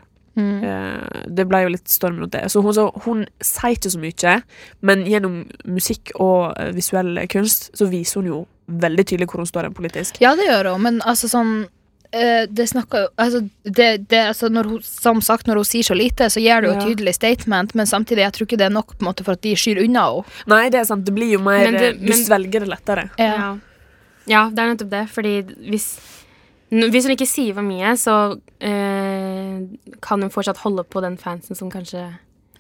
C: Eh, det ble jo litt storm rundt det. Så hun, så, hun sier ikke så mye, men gjennom musikk og eh, visuell kunst så viser hun jo veldig tydelig hvor hun står hen politisk.
E: Ja, det gjør hun, men altså sånn eh, det snakker jo altså, det, det, altså når hun, Som sagt, når hun sier så lite, så gir det jo et
C: Ja.
E: tydelig statement, men samtidig jeg tror ikke det er nok på en måte, for at de skyr unna henne.
C: Nei, det er sant. Det blir jo mer
D: Men det-
C: eh, Du
D: men-
C: svelger det lettere.
D: Ja. ja, det er nettopp det. Fordi hvis, n- hvis hun ikke sier for mye, så eh, kan hun fortsatt holde på den fansen som kanskje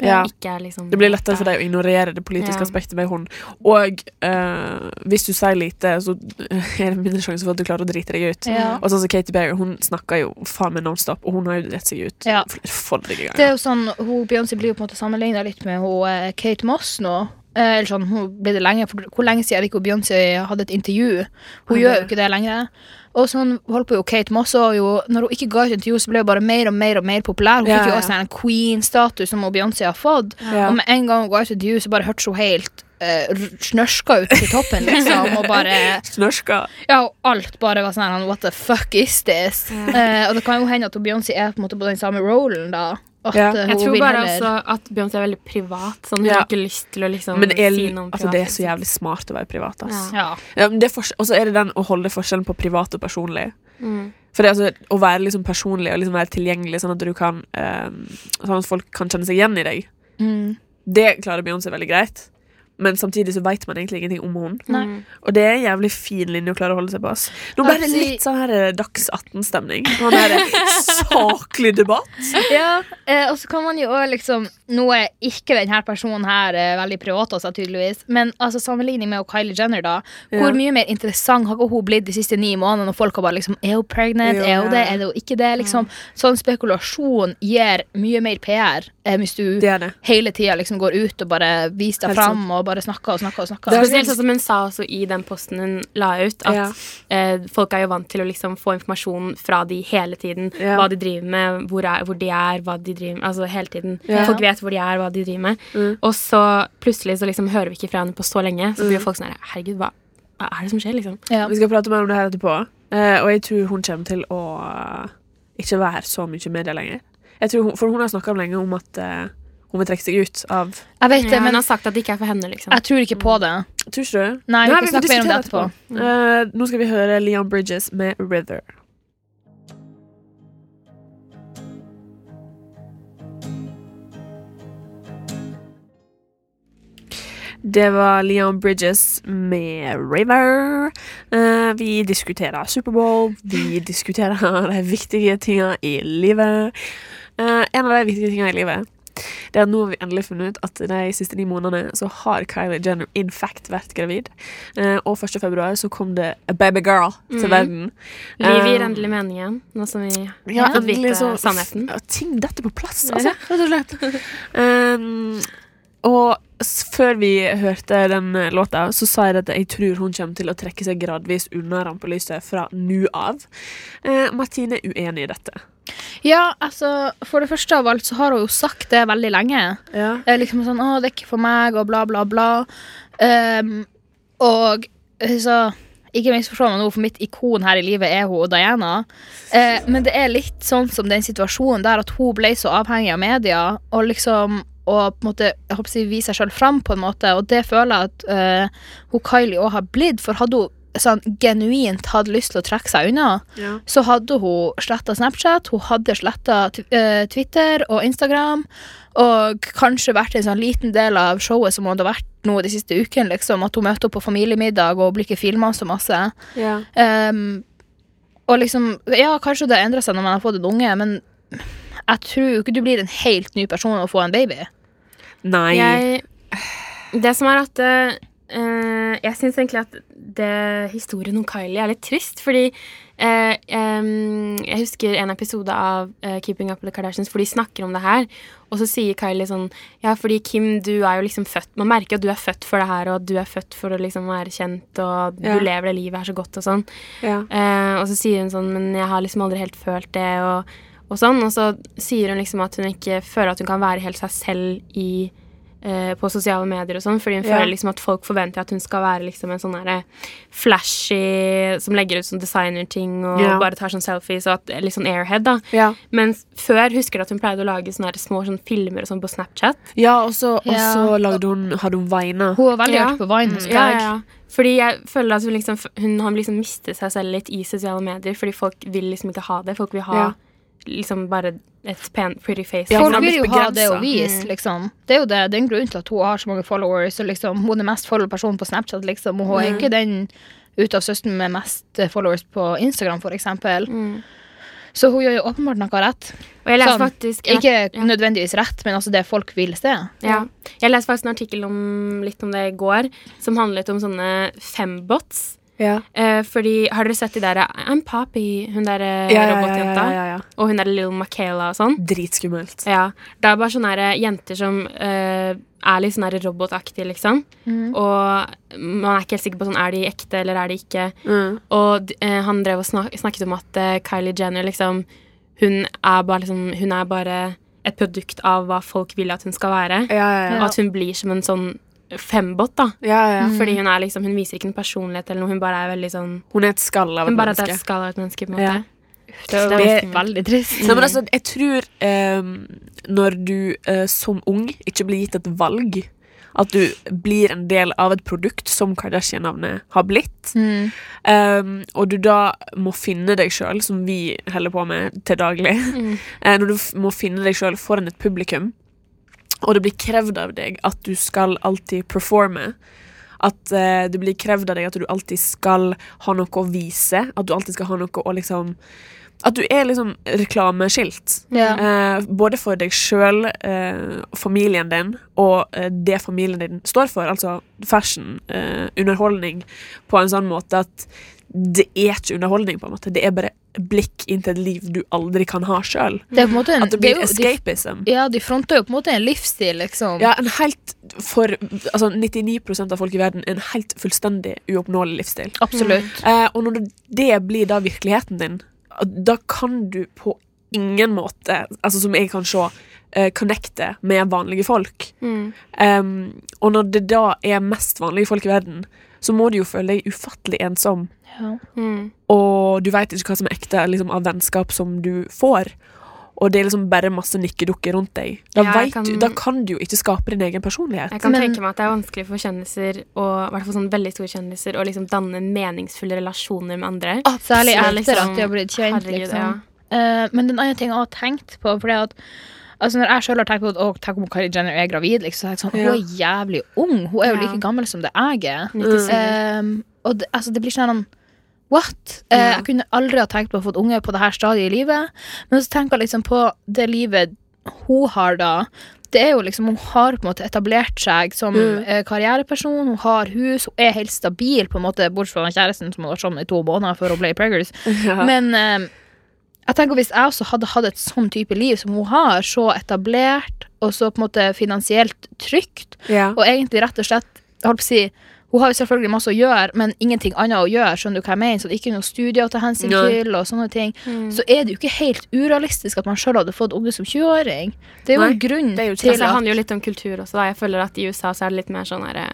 C: Ja.
D: ikke er liksom
C: Det blir lettere for deg å ignorere det politiske
D: Ja.
C: aspektet med hun. Og eh, hvis du sier lite, så er det mindre sjanse for at du klarer å drite deg ut.
E: Ja.
C: Og sånn som Katy Perry, hun snakker jo faen meg nonstop, og hun har jo dritt seg ut
E: Ja.
C: flere forrige
E: Det er
C: ganger.
E: jo sånn, hun, Beyoncé blir jo på en måte sammenligna litt med hun, eh, Kate Moss nå. Eh, Eller sånn, hun ble det lenge, for Hvor lenge siden er det ikke hun Beyoncé hadde et intervju? Hun gjør jo ikke det lenger. Og sånn holdt på jo Kate Moss og jo, Når hun ikke ga ut intervju, så ble hun bare mer og mer og mer populær. Hun
C: Ja,
E: fikk jo
C: ja.
E: også en queen-status som hun Beyoncé har fått.
C: Ja.
E: Og med en gang hun ga ut intervju, så bare hørtes hun helt eh, r- snørska ut til toppen, liksom. Og bare
C: Snørska.
E: ja, og alt bare var sånn her, What the fuck is this? Eh, og det kan jo hende at Beyoncé er på, en måte på den samme rollen, da. At
C: Ja.
E: eh, hun
D: Jeg tror
E: vil
D: bare
E: heller-
D: også at Beyoncé er veldig privat. Sånn, hun
C: Ja.
D: har ikke lyst til å liksom
C: Men jeg,
D: si noe om
C: altså, det er
D: privatlivet
C: så jævlig smart å være privat. Ass.
D: Ja.
E: ja.
C: Ja, men det er fors- og så er det den å holde forskjellen på privat og personlig.
D: Mm.
C: For det, er altså, Å være liksom personlig og liksom være tilgjengelig, sånn at, du kan, eh, sånn at folk kan kjenne seg igjen i deg,
E: Mm.
C: det klarer Beyoncé veldig greit. Men samtidig så vet man egentlig ingenting om henne.
E: Nei.
C: Og det er en jævlig fin linje å klare å holde seg på. Ass. Nå ble det
E: Absolutt.
C: litt sånn her eh, Dags 18-stemning. Sånn her eh, saklig debatt.
E: ja eh, og så kan man jo også liksom Nå er ikke denne personen her eh, veldig privat, altså, tydeligvis, men altså, sammenligning med Kylie Jenner, da. Hvor mye mer interessant har ikke hun blitt de siste ni månedene? Og folk har bare liksom Er hun pregnant?
C: Jo,
E: Er hun det?
C: ja.
E: Er det hun ikke det? Liksom. Sånn spekulasjon gir mye mer PR eh, hvis du
C: Det er det.
E: hele tida liksom går ut og bare viser deg
C: Helt sant.
E: fram og bare snakker og snakker og
C: Det
E: snakker.
C: er-
D: Spesielt sånn som hun sa også i den posten hun la ut, at
C: Ja.
D: eh, folk er jo vant til å liksom få informasjon fra de hele tiden.
C: Ja.
D: Hva de driver med, hvor, er, hvor de er, hva de driver med. Altså hele tiden.
C: Ja. Mm.
D: Folk vet hvor de er, hva de driver med. Og så plutselig så liksom hører vi ikke fra henne på så lenge. Så
C: Mm.
D: blir jo folk sånn her Herregud, hva, hva er det som skjer, liksom?
E: Ja.
C: Vi skal prate mer om det her etterpå. Eh, og jeg tror hun kommer til å eh, ikke være så mye i media lenger. Jeg tror hun, for hun har snakka lenge om at eh, hun vil trekke seg ut av
E: Jeg vet
D: Ja,
E: det,
D: hun
E: men
D: har sagt at det ikke er for henne, liksom.
E: jeg tror ikke på det.
C: Tror ikke du?
E: Nei, vi
C: Nei,
E: kan
C: får
E: snakke mer om det
C: diskutere
E: etterpå.
C: etterpå. Eh, nå skal vi høre Leon Bridges med 'River'. Det var Leon Bridges med River. Eh, vi diskuterer Superbowl. Vi diskuterer de viktige tinga i livet. Eh, en av de viktige tinga i livet Det er at nå har vi endelig funnet ut at de siste ni månedene så har Kylie Jenner in fact vært gravid. Eh, og 1. februar så kom det a baby girl til
D: Mhm.
C: verden.
D: Livet
C: Eh,
D: gir endelig mening igjen, nå som vi
C: ja, liksom,
D: fått vite
C: endelig så-
D: sannheten.
C: Ja, ting detter på plass, altså, rett og slett. Um, og s- før vi hørte den eh, låta, så sa jeg at jeg tror hun kommer til å trekke seg gradvis unna rampelyset fra nå av. Eh, Martine er uenig i dette.
E: Ja, altså, For det første av alt så har hun jo sagt det veldig lenge. Eh, Liksom sånn 'Å, det er ikke for meg', og bla, bla, bla. Ehm, og eh, så Ikke misforstå meg nå, for mitt ikon her i livet er hun og Diana. Eh, men det er litt sånn som den situasjonen der at hun ble så avhengig av media, og liksom og på en måte, jeg håper å si, vise seg sjøl fram, på en måte, og det føler jeg at eh, hun Kylie òg har blitt. For hadde hun sånn, genuint hatt lyst til å trekke seg unna,
C: Ja.
E: så hadde hun sletta Snapchat, hun hadde sletta Twitter og Instagram, og kanskje vært en sånn liten del av showet som hun hadde vært nå de siste ukene, liksom, at hun møter opp på familiemiddag og blir ikke filma så masse. Ehm, og liksom Ja, kanskje det har endra seg når man har fått en unge, men jeg tror jo ikke du blir en helt ny person av å få en baby.
C: Nei.
D: Jeg, det som er at eh, Jeg syns egentlig at det, historien om Kylie er litt trist, fordi eh, em, Jeg husker en episode av eh, Keeping Up with the Kardashians hvor de snakker om det her. Og så sier Kylie sånn Ja, fordi Kim, du er jo liksom født Man merker at du er født for det her, og at du er født for å liksom være kjent, og
C: Ja.
D: du lever det livet her så godt, og sånn.
C: ja.
D: Eh, og så sier hun sånn Men jeg har liksom aldri helt følt det og, og sånn Og så sier hun liksom at hun ikke føler at hun kan være helt seg selv i, eh, På sosiale medier og sånn Fordi hun
C: Ja.
D: føler liksom at folk forventer at hun skal være liksom en sånn der Flashy Som legger ut sånn designer-ting Og
C: Ja.
D: bare tar sånn selfies og at, Litt sånn airhead da
C: Ja.
D: Mens før husker du at hun pleide å lage sånne her små sånn filmer og sånn på Snapchat
C: ja, og så og
E: Ja.
C: så lagde hun Hadde hun Veina.
E: Hun var veldig
D: Ja. Mm.
E: artig på Vine. husker
D: Ja, ja,
E: jeg.
D: ja. Fordi jeg føler at hun, liksom, hun har liksom mistet seg selv litt i sosiale medier, fordi folk vil liksom ikke ha det. Folk vil ha
C: Ja.
D: liksom bare et pen, pretty face. liksom.
C: Ja, for hun
E: Folk
C: har
E: vil jo
C: blitt
E: ha det
C: begrenset.
E: å
C: Mm.
E: vise, liksom. Det er jo det, det er en grunn til at hun har så mange followers. Og liksom, hun er den mest followede personen på Snapchat, liksom. Og hun
C: Mm.
E: er ikke den ut av søsteren med mest eh, followers på Instagram, for eksempel.
C: Mm.
E: Så hun gjør jo åpenbart noe rett.
D: Og jeg leste
E: Sånn.
D: faktisk en,
E: Ikke nødvendigvis rett, men altså det folk vil se.
D: ja. Jeg leste faktisk en artikkel om, litt om det i går, som handlet om sånne fembots.
C: Ja.
D: Eh, fordi, har dere sett de der I'm Poppy, hun der eh,
C: Ja, ja, ja,
D: robotjenta,
C: ja, ja, ja.
D: og hun der Lill Michaela og sånn?
C: Dritskummelt.
D: Ja, det er bare sånne her jenter som eh, er litt sånn her robotaktige, liksom.
C: Mm.
D: Og man er ikke helt sikker på sånn, er de ekte eller er de ikke.
C: Mm.
D: Og d- eh, han drev og snak snakket om at eh, Kylie Jenner liksom hun er, bare, liksom hun er bare et produkt av hva folk vil at hun skal være.
C: Ja, ja, ja. Mm.
D: Og at hun blir som en sånn fembot, da.
C: ja, ja.
D: Fordi hun, er liksom, hun viser ikke en personlighet eller noe, hun bare er veldig sånn
C: Hun er et skall av et
D: Hun bare er
C: menneske.
D: et skall av et menneske, på en måte.
C: Ja.
D: Det er
C: Det-
D: ganske-
E: Veldig trist.
C: Nei, men altså, jeg tror ehm, når du eh, som ung ikke blir gitt et valg, at du blir en del av et produkt som Kardashian-navnet har blitt,
E: Mm.
C: ehm, og du da må finne deg sjøl, som vi holder på med til daglig eh, Når du f må finne deg sjøl foran et publikum, og det blir krevd av deg at du skal alltid performe at eh, det blir krevd av deg at du alltid skal ha noe å vise. At du alltid skal ha noe å liksom At du er liksom reklameskilt.
E: Ja.
C: Eh, både for deg sjøl, eh, familien din og eh, det familien din står for. Altså fashion, eh, underholdning, på en sånn måte at det er ikke underholdning, på en måte. Det er bare blikk inn til et liv du aldri kan ha sjøl.
E: Det er på en måte en
C: At det
E: det er
C: blir
E: jo-
C: escapism.
E: De, ja, de fronter jo på en måte en livsstil, liksom.
C: Ja, en helt for altså 99 av folk i verden en helt fullstendig uoppnåelig livsstil.
E: Absolutt.
C: Eh, og når det blir da virkeligheten din, da kan du på ingen måte, altså som jeg kan se, eh, connecte med vanlige folk. Em, og når det da er mest vanlige folk i verden, så må du jo føle deg ufattelig ensom.
E: Ja.
D: Mm.
C: Og du veit ikke hva som er ekte liksom, av vennskap som du får. Og det er liksom bare masse nikkedukker rundt deg. Da,
D: Ja, jeg
C: vet
D: kan-
C: Du, da kan du jo ikke skape din egen personlighet.
D: Jeg kan
E: Men-
D: tenke meg at det er vanskelig for kjendiser og i hvert fall sånn veldig store kjendiser å liksom danne meningsfulle relasjoner med andre.
E: Særlig
D: Så det er
E: etter
D: liksom-
E: at de har blitt kjent,
D: Herregud,
E: liksom.
D: ja.
E: Eh, men den andre ting jeg har tenkt på, for det er at Altså Når jeg selv har tenkt på at «Å, tenk om Kylie Jenner er gravid, liksom, så har jeg tenkt sånn, hun er jævlig ung. Hun er
D: Ja.
E: jo like gammel som det jeg er.
D: 97.
E: Ehm, og det, altså, det blir sånn What? Eh,
D: Ja.
E: Jeg kunne aldri ha tenkt på å få unge på det her stadiet i livet. Men så tenker jeg liksom på det livet hun har da. Det er jo liksom, Hun har på en måte etablert seg som eh, karriereperson. Hun har hus, hun er helt stabil, på en måte, bortsett fra den kjæresten som hun var sammen med i to måneder før hun ble preggers. Men eh, jeg tenker hvis jeg også hadde hatt et sånn type liv som hun har, så etablert og så på en måte finansielt trygt,
C: Ja.
E: og egentlig rett og slett jeg holdt på å si, Hun har jo selvfølgelig masse å gjøre, men ingenting annet å gjøre. skjønner du hva jeg mener, så det er ikke noe studier å ta hensyn
C: Nei.
E: til, og sånne ting,
C: Mm.
E: så er det jo ikke helt urealistisk at man sjøl hadde fått unge som 20-åring. Det er jo
C: Nei,
E: en grunn
C: det er jo ikke-
E: til
D: Altså, det
E: at
D: handler jo litt om kultur også. Da. Jeg føler at i USA så er det litt mer sånn her eh,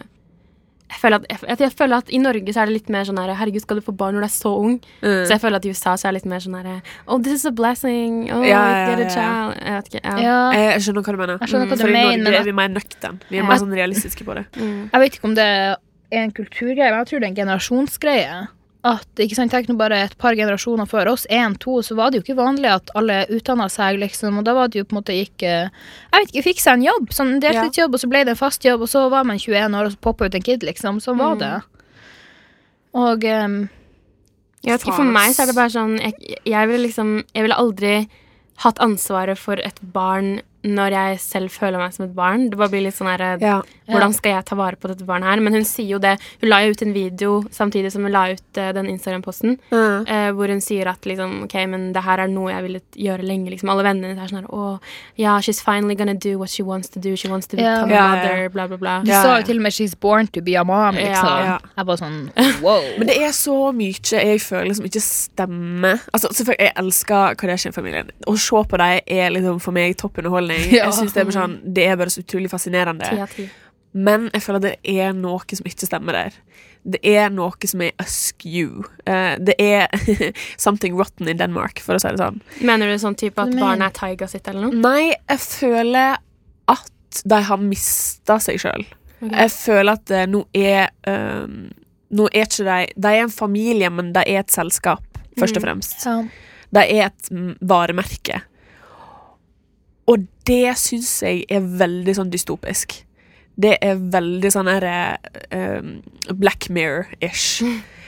D: jeg føler, at, jeg, jeg- jeg føler at I Norge så er det litt mer sånn her Herregud, skal du få barn når du er så ung?
C: Mm.
D: Så jeg føler at i USA så er det litt mer sånn her Oh, this is a blessing. Oh,
C: Ja, ja,
D: get a
C: ja, ja.
D: child. Jeg vet ikke. Ja.
E: ja,
C: Eh, Jeg jeg skjønner hva du mener.
E: Jeg skjønner hva du
C: For i
E: mener, men
C: Mm. Norge
E: at-
C: er vi mer nøkterne. Vi er
D: Ja.
C: mer sånn realistiske på det.
E: Jeg vet ikke om det er en kulturgreie, men jeg tror det er en generasjonsgreie. At, ikke sant, Tenk nå bare et par generasjoner før oss, én, to, så var det jo ikke vanlig at alle utdanna seg, liksom. Og da var det jo på en måte gikk eh, Jeg vet ikke, fikk seg en jobb. Sånn en deltidsjobb, og så ble det en fast jobb, og så var man 21 år, og så poppa ut en kid, liksom. Sånn
C: Mm.
E: var det. Og em,
D: Jeg vet ikke, For
C: Faen,
D: meg så er
C: ass.
D: det bare sånn Jeg, jeg ville liksom Jeg ville aldri hatt ansvaret for et barn når jeg selv føler meg som et barn. Det bare blir litt sånn her eh,
C: Ja.
D: Hvordan skal jeg ta vare på dette barnet her? Men hun sier jo det. Hun la jo ut en video samtidig som hun la ut eh, den Instagram-posten. eh, hvor hun sier at liksom, ok, men det her er noe jeg ville gjøre lenge. Liksom. Alle vennene hennes er sånn her Å, ja, she's finally gonna do what she wants to do. She wants to
E: Ja.
D: become
C: Ja,
D: a
C: ja, ja.
D: mother, bla, bla, bla.
E: du
C: Ja,
E: sa
C: ja.
E: jo til og med 'she's born to be a mom', liksom.
D: Ja,
C: ja.
E: Jeg var sånn wow.
C: Men det er så mye jeg føler som ikke stemmer. Altså, selvfølgelig, Jeg elsker Kardashian-familien. Å se på dem er liksom for meg topp underholdning.
E: Ja.
C: Jeg synes det, er bare sånn, det er bare så utrolig fascinerende.
D: Ti av ti.
C: Men jeg føler det er noe som ikke stemmer der. Det er noe som er askew. Eh, det er something rotten in Denmark, for å si det sånn.
D: Mener du sånn type at
E: Men-
D: barnet er taiga sitt eller noe?
C: Nei, jeg føler at de har mista seg sjøl.
D: Ok.
C: Jeg føler at eh, nå er um, Nå er ikke de De er en familie, men de er et selskap, først og fremst.
E: Ja.
C: De er et mm, varemerke. Og det syns jeg er veldig sånn dystopisk. Det er veldig sånn her eh, um, Black Mirror-ish.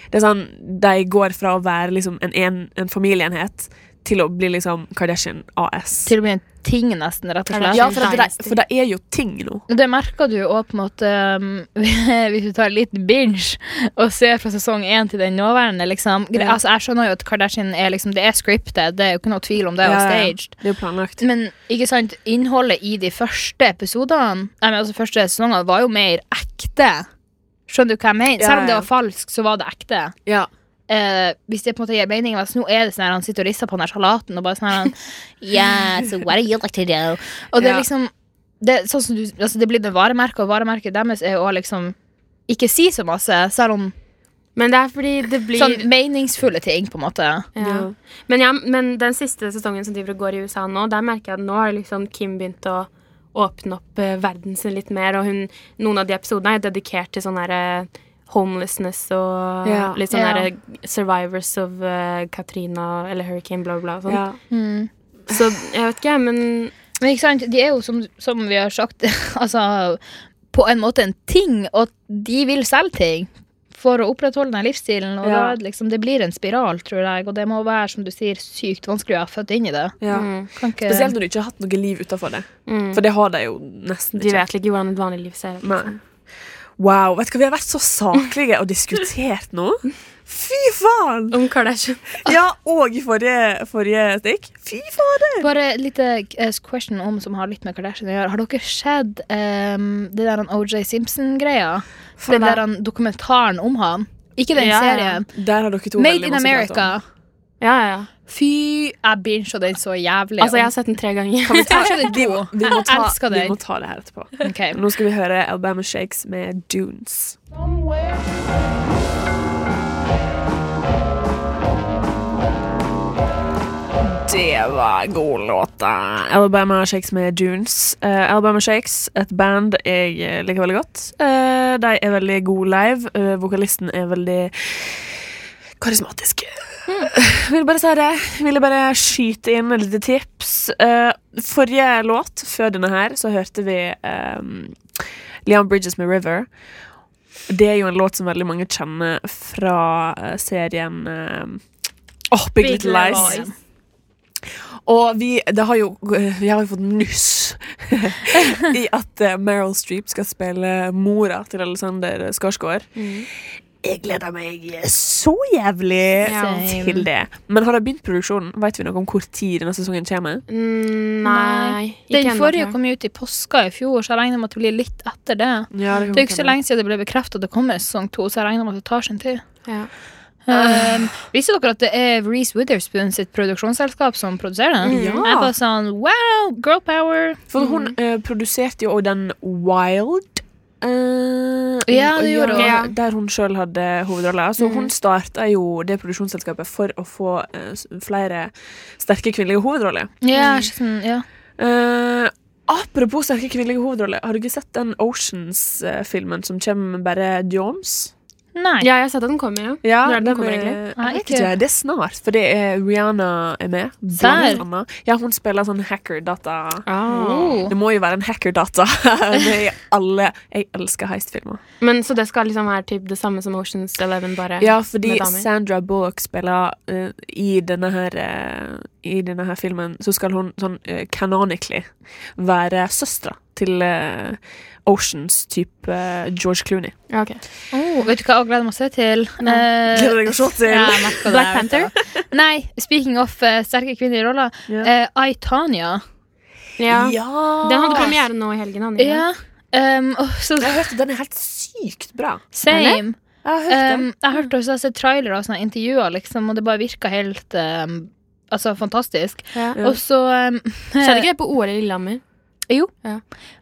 C: Det er sånn, De går fra å være liksom en, en, en familieenhet til å bli liksom Kardashian AS.
E: Til og med en ting, nesten, rett og
D: Er det
E: slett.
C: Ja, for, at det,
D: Dynasty.
C: for det er jo ting nå.
E: Det merker du jo også på en måte um, hvis du tar en liten binge og ser fra sesong én til den nåværende. Liksom. Gre-
C: Ja.
E: Altså, jeg skjønner jo at Kardashian er, liksom, det er scriptet, det er jo ikke noe tvil om det, og
C: Ja, ja, ja.
E: staged.
C: Det er jo planlagt.
E: Men ikke sant, innholdet i de første episodene, nei, men altså første sesongene, var jo mer ekte. Skjønner du hva jeg mener?
C: Ja,
E: Selv om det
C: ja.
E: var falsk, så var det ekte.
C: Ja.
E: Eh, hvis det på en måte gir mening, mens nå er det sånn her, han sitter og rister på den her salaten og bare sånn her han, Yeah, so what do you like to do? Og det er
C: Ja.
E: liksom det, er sånn som du, altså det blir det varemerket, og varemerket deres er jo å liksom ikke si så masse, selv om
D: Men det er fordi det blir
E: sånn meningsfulle ting, på en måte.
D: ja. Men, ja, men den siste sesongen som driver og går i USA nå, der merker jeg at nå har liksom Kim begynt å åpne opp eh, verden sin litt mer. Og hun, noen av de episodene er dedikert til sånn derre homelessness og
C: Ja.
D: litt sånn
E: Ja.
D: derre survivors of eh, Katrina eller Hurricane, bla, bla. og Sånn.
C: Ja.
D: Så jeg vet ikke, men
E: Men ikke sant, de er jo som, som vi har sagt, altså på en måte en ting, og de vil selge ting. For å opprettholde den livsstilen. Og da
C: Ja.
E: er det liksom, det blir en spiral, tror jeg. Og det må være som du sier, sykt vanskelig å ha født inn i det.
C: Ja.
D: mm,
E: Kan ikke...
C: Spesielt når du ikke har hatt noe liv utenfor det.
D: mm,
C: For det har de jo nesten
D: de
C: ikke.
D: vet ikke hvordan et vanlig liv ser ut.
C: Nei. Wow, vet du hva, vi har vært så saklige og diskutert nå. Fy faen!
D: Om Kardashian.
C: Ja, og i forrige, forrige stikk. Fy fader!
E: Bare et lite eh, question om som har litt med Kardashian å gjøre. Har dere sett ehm, det der han OJ Simpson-greia?
D: For
E: Den
D: da-
E: der han, dokumentaren om han? Ikke den
D: Ja, ja.
E: serien.
C: Der har dere to
E: Made
C: veldig
E: in
C: masse sånn. å prate om.
E: America.
D: Ja, ja, ja.
E: Fy, jeg bincha den så jævlig.
D: Altså, jeg har sett den tre ganger.
C: Kan vi ta,
E: Jeg har sett de
C: vi,
E: to.
C: vi, må ta,
E: Jeg elsker
C: vi
E: deg.
C: må ta det her etterpå.
E: Ok.
C: Nå skal vi høre Alabama Shakes med Dunes. Det var god låt, da. Alabama Shakes med Dunes. Eh, Alabama Shakes, et band jeg eh, liker veldig godt. Eh, de er veldig gode live. Eh, vokalisten er veldig karismatisk. Ville bare si det. Ville bare skyte inn et lite tips. Eh, forrige låt, før denne her, så hørte vi ehm, Leon Bridges med 'River'. Det er jo en låt som veldig mange kjenner fra eh, serien ehm, Åh, Big, Little Lies. Og vi, det har jo, vi har jo fått nuss i at eh, Meryl Streep skal spille mora til Alexander Skarsgård.
D: Mm.
C: Jeg gleder meg så jævlig
E: Same.
C: til det. Men har de begynt produksjonen? Vet vi noe om hvor tid denne sesongen kommer?
D: Mm, nei. ikke
E: Den
D: ennå, tror
E: forrige
D: jeg.
E: kom jo ut i påska i fjor, så jeg regner med at det blir litt etter det.
C: Ja,
E: Det er jo ikke så lenge siden det ble bekreftet at det kommer sesong to, så jeg regner med at det tar sin tid.
D: Ja.
E: Um, visste dere at det er Reece Witherspoon sitt produksjonsselskap som produserer den?
C: Ja.
E: Jeg var sånn wow, girl power.
C: For hun
D: Mhm.
C: eh, produserte jo også den Wild. eh,
E: Ja, det gjorde
D: hun. Mhm. Ja.
C: Der hun sjøl hadde hovedrolla. Så hun starta jo det produksjonsselskapet for å få eh, s- flere sterke kvinnelige hovedroller.
E: Ja, sånn, ja.
C: Eh, apropos sterke kvinnelige hovedroller, har du ikke sett den Oceans-filmen som kommer med bare Joms?
E: Nei.
D: Ja, jeg sa at den kommer, ja. Når er den kommer, egentlig?
C: Jeg vet
E: ikke.
C: ikke, det er snart, for det er Rihanna er med. Blant
E: Serr?
C: annet. Ja, hun spiller sånn hacker-data.
E: Oh.
C: Det må jo være en hacker-data. det er alle Jeg elsker heist-filmer.
D: Men Så det skal liksom være typ det samme som Oceans Eleven, bare
C: Ja, fordi
D: med damer?
C: Sandra Bullock spiller eh, i, denne her, eh, I denne her filmen Så skal hun sånn eh, canonically være søstera til eh, Oceans type eh, George Clooney.
D: Ja, ok.
E: Oh, vet du hva jeg gleder meg å se til? Eh,
C: Gleder deg å se til.
E: ja, jeg merker det,
D: Black
E: jeg vet det. Nei, speaking of eh, sterke kvinnelige roller.
C: Ja.
E: eh, I, Tanya.
D: Ja. Den hadde premiere nå i helgen. Han,
E: Ja. Um, åh, så
C: Jeg har hørt at den er helt sykt bra.
E: same.
C: Jeg har hørt den.
E: Um, jeg hørte også jeg har sett trailere og sånne intervjuer, liksom, og det bare virka helt um, altså, fantastisk.
D: Ja.
E: Og så um,
D: Skjedde ikke det på OL i Lillehammer?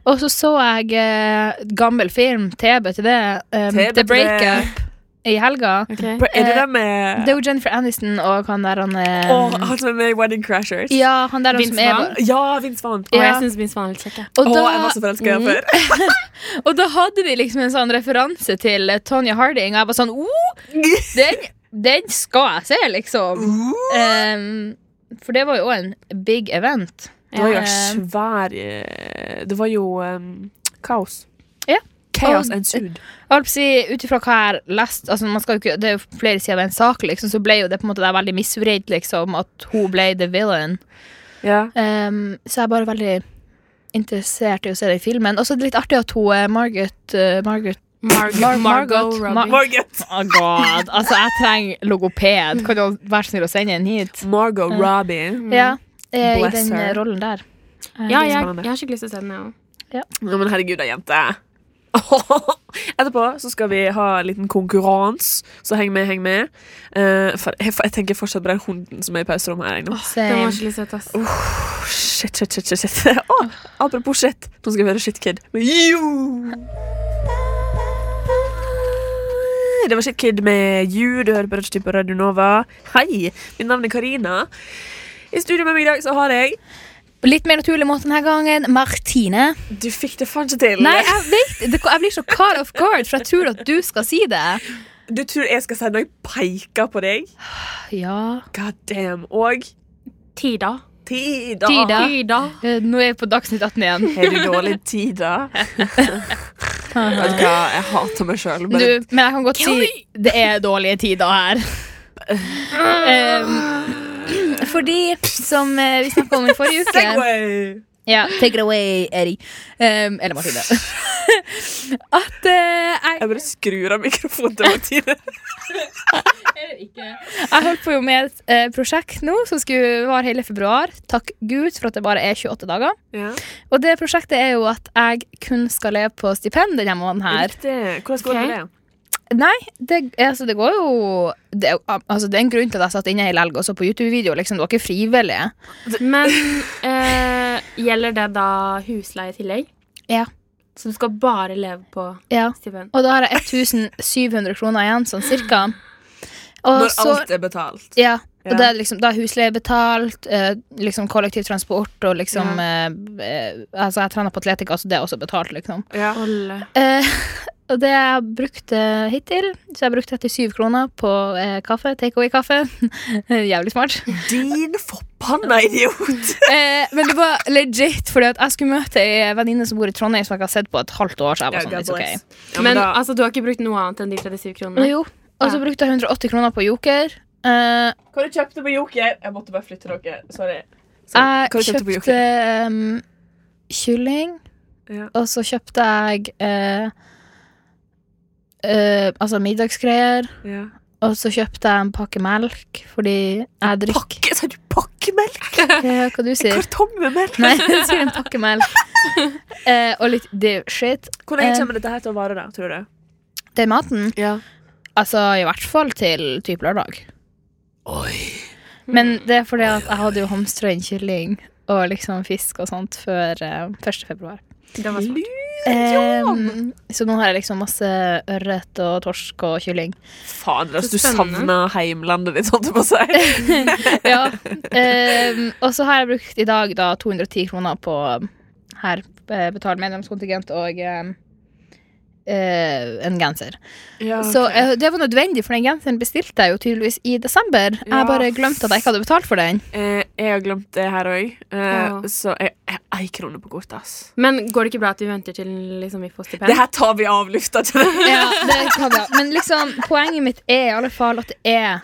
E: Og så så jeg eh, gammel film, TB til det, um,
C: TB
E: The
C: til det.
E: Breakup, i helga.
D: Okay.
C: Er det
E: eh,
C: den med
E: Det er jo Jennifer Aniston og han der han eh,
C: Åh, han som er med i Wedding Crashers?
E: Ja, han der han
D: Vince
E: som er
D: Vaughn?
C: Ja, Vince Vaughn.
D: Og
E: Ja.
D: jeg syns Vince Vaughn er litt kjekk. jeg.
E: Og
C: Åh,
E: da,
C: jeg var så forelska i
E: Mm.
C: ham før.
E: Og da hadde vi liksom en sånn referanse til eh, Tonya Harding, og jeg var sånn oh,
C: Mm.
E: den, den skal jeg se, liksom. Ehm, for det var jo òg en big event.
C: Det var jo
E: Eh,
C: svær eh, Det var jo um, kaos.
E: Ja.
C: Chaos
E: Og-
C: ensued.
E: jeg holdt på å si, Ut ifra hva jeg har lest, altså man skal jo ikke, det er jo flere sider ved en sak, liksom, så ble jo det på en måte der veldig misvridd liksom, at hun ble the villain.
C: Ja.
E: Ehm, så jeg er bare veldig interessert i å se den filmen. Og så er det litt artig at hun eh, Margaret, eh, Margaret
D: Margot,
E: Mar-
D: Margot
E: Margot.
D: Robbie.
C: Margot.
E: Oh god, altså jeg trenger logoped. Kan du være snill å sende en hit?
C: Margot Robbie.
E: Ja, eh, i
C: Bless
E: den eh,
C: her.
E: rollen der.
D: Mm.
E: Eh,
D: ja, jeg,
C: Spennende.
D: jeg har skikkelig lyst til å se den, jeg òg.
C: Ja, men herregud, da, jente. Etterpå så skal vi ha en liten konkurranse, så heng med, heng med. Eh, for, jeg, for jeg tenker fortsatt på den hunden som er i pauserommet her. jeg nå.
D: Den
E: Same.
D: var skikkelig søt, ass.
C: Åh, shit, shit, shit, shit, shit. Åh, apropos shit, nå skal vi høre Shit Kid. med You. Det var Shit Kid med You. Du hører på Rødstyp på Radio Nova. Hei, mitt navn er Karina. I studio med meg i dag så har jeg
E: På Litt mer naturlig måte denne gangen. Martine.
C: Du fikk det faen ikke til.
E: Nei, jeg vet det, Jeg blir så caught off guard, for jeg tror at du skal si det.
C: Du tror jeg skal si når jeg peker på deg?
E: Ja.
C: God damn. Og
D: Tida.
C: Tida.
E: Tida. Ja.
D: Tida.
E: Eh, Nå er jeg på Dagsnytt 18 igjen.
C: Har du dårlig tid, da? Vet du hva, jeg hater meg sjøl.
E: Du, men jeg kan godt si det er dårlige tider her. Um, fordi, som eh, vi snakka om i forrige uke Ja, take it away, Eddie. Um, eller Martine. At eh, jeg,
C: Jeg bare skrur av mikrofonen til Martine.
E: jeg holdt på jo med et eh, prosjekt nå som skulle vare hele februar. Takk Gud for at det bare er 28 dager.
C: Ja.
E: Og det prosjektet er jo at jeg kun skal leve på stipend denne måneden her.
C: Riktig. Hvordan går det med det?
E: Nei, det, altså, det går jo det, er jo- altså, det er en grunn til at jeg satt inne hele helga og så på YouTube-video. Liksom, det var ikke frivillig.
D: Men eh, gjelder det da husleie i tillegg?
E: Ja.
D: Så du skal bare leve på
E: Ja.
D: stipend?
E: Og da har jeg 1700 kroner igjen, sånn cirka. Og
C: Når
E: så,
C: alt er betalt.
E: ja,
C: Ja.
E: og da er, det liksom, da er husleie betalt, eh, liksom kollektivtransport og liksom eh, eh, Altså, jeg trener på atletikk, altså det er også betalt, liksom.
C: Ja.
D: Alle.
E: Eh, Og det jeg brukte hittil Så jeg brukte 37 kroner på eh, kaffe. Take away-kaffe. Jævlig smart.
C: Din forbanna idiot!
E: Eh, men det var legit, fordi at jeg skulle møte ei venninne som bor i Trondheim, som jeg ikke har sett på et halvt år. Så jeg var sånn, it's okay. Mm.
C: Ja,
D: Men
C: men da,
D: altså, du har ikke brukt noe annet enn de 37
E: Og
D: kronene?
E: jo, og så brukte jeg 180 kroner på Joker. Eh,
F: Hva du kjøpte på Joker? Jeg måtte bare flytte dere. Sorry.
E: jeg
C: Hva du kjøpte
E: kjøpte
C: på Joker?
E: em, kylling,
C: Ja.
E: og så kjøpte jeg eh, eh, altså middagsgreier.
C: Ja.
E: Og så kjøpte jeg en pakke melk, fordi jeg drikker
C: Pakke, sa du pakkemelk?
E: Eh, Hva du sier
C: Kartong med melk?
E: Nei, jeg sier en pakke melk. Eh, og litt det shit.
C: Hvor
E: Eh.
C: lenge kommer dette her til å vare, da, tror du?
E: Den maten
C: Ja.
E: Altså, i hvert fall til type lørdag. Men det er fordi at jeg hadde jo hamstra inn kylling og liksom fisk og sånt før eh, 1. februar.
D: Det
C: Mm.
D: var smart.
E: Em, så nå har jeg liksom masse ørret og torsk og kylling.
C: Faen,
D: Så
C: altså, du
D: spennende.
C: savner heimlandet ditt, holdt jeg på å si.
E: Ja. Em, og så har jeg brukt i dag da 210 kroner på um, her eh, betale medlemskontingent og em, eh, en genser. Så eh, det var nødvendig, for den genseren bestilte jeg jo tydeligvis i desember.
C: Ja.
E: Jeg bare glemte at jeg ikke hadde betalt for den.
C: Eh, jeg har glemt det her òg, eh,
D: Ja.
C: så jeg jeg har ei krone på kortet. ass.
D: Men går det ikke bra at vi venter til liksom, vi får
C: Det
D: stipend?
C: her tar vi av lufta. kjenner jeg.
E: Ja, det kan jeg. Men liksom, poenget mitt er i alle fall at det er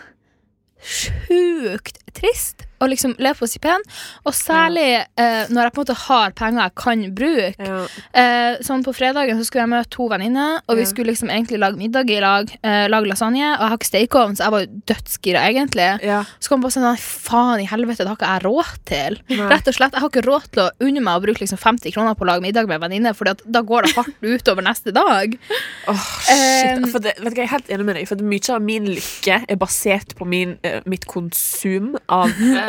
E: sjukt trist å liksom leve på stipend. Og særlig eh, når jeg på en måte har penger jeg kan bruke.
C: Ja.
E: Eh, sånn På fredagen så skulle jeg møte to venninner, og vi
C: Ja.
E: skulle liksom egentlig lage middag i lag. Eh, lage lasagne. Og jeg har ikke stekeovn, så jeg var jo dødsgira, egentlig.
C: Ja.
E: Så kom jeg på sånn, nei, faen i helvete, det har ikke jeg råd til.
C: Nei.
E: Rett og slett, Jeg har ikke råd til å unne meg å bruke liksom 50 kroner på å lage middag med en venninne, for da går det hardt utover neste dag.
C: Åh, shit.
E: Um,
C: for det, vet du, hva, jeg er helt enig med deg, for at mye av min lykke er basert på min, eh, mitt konsum av eh,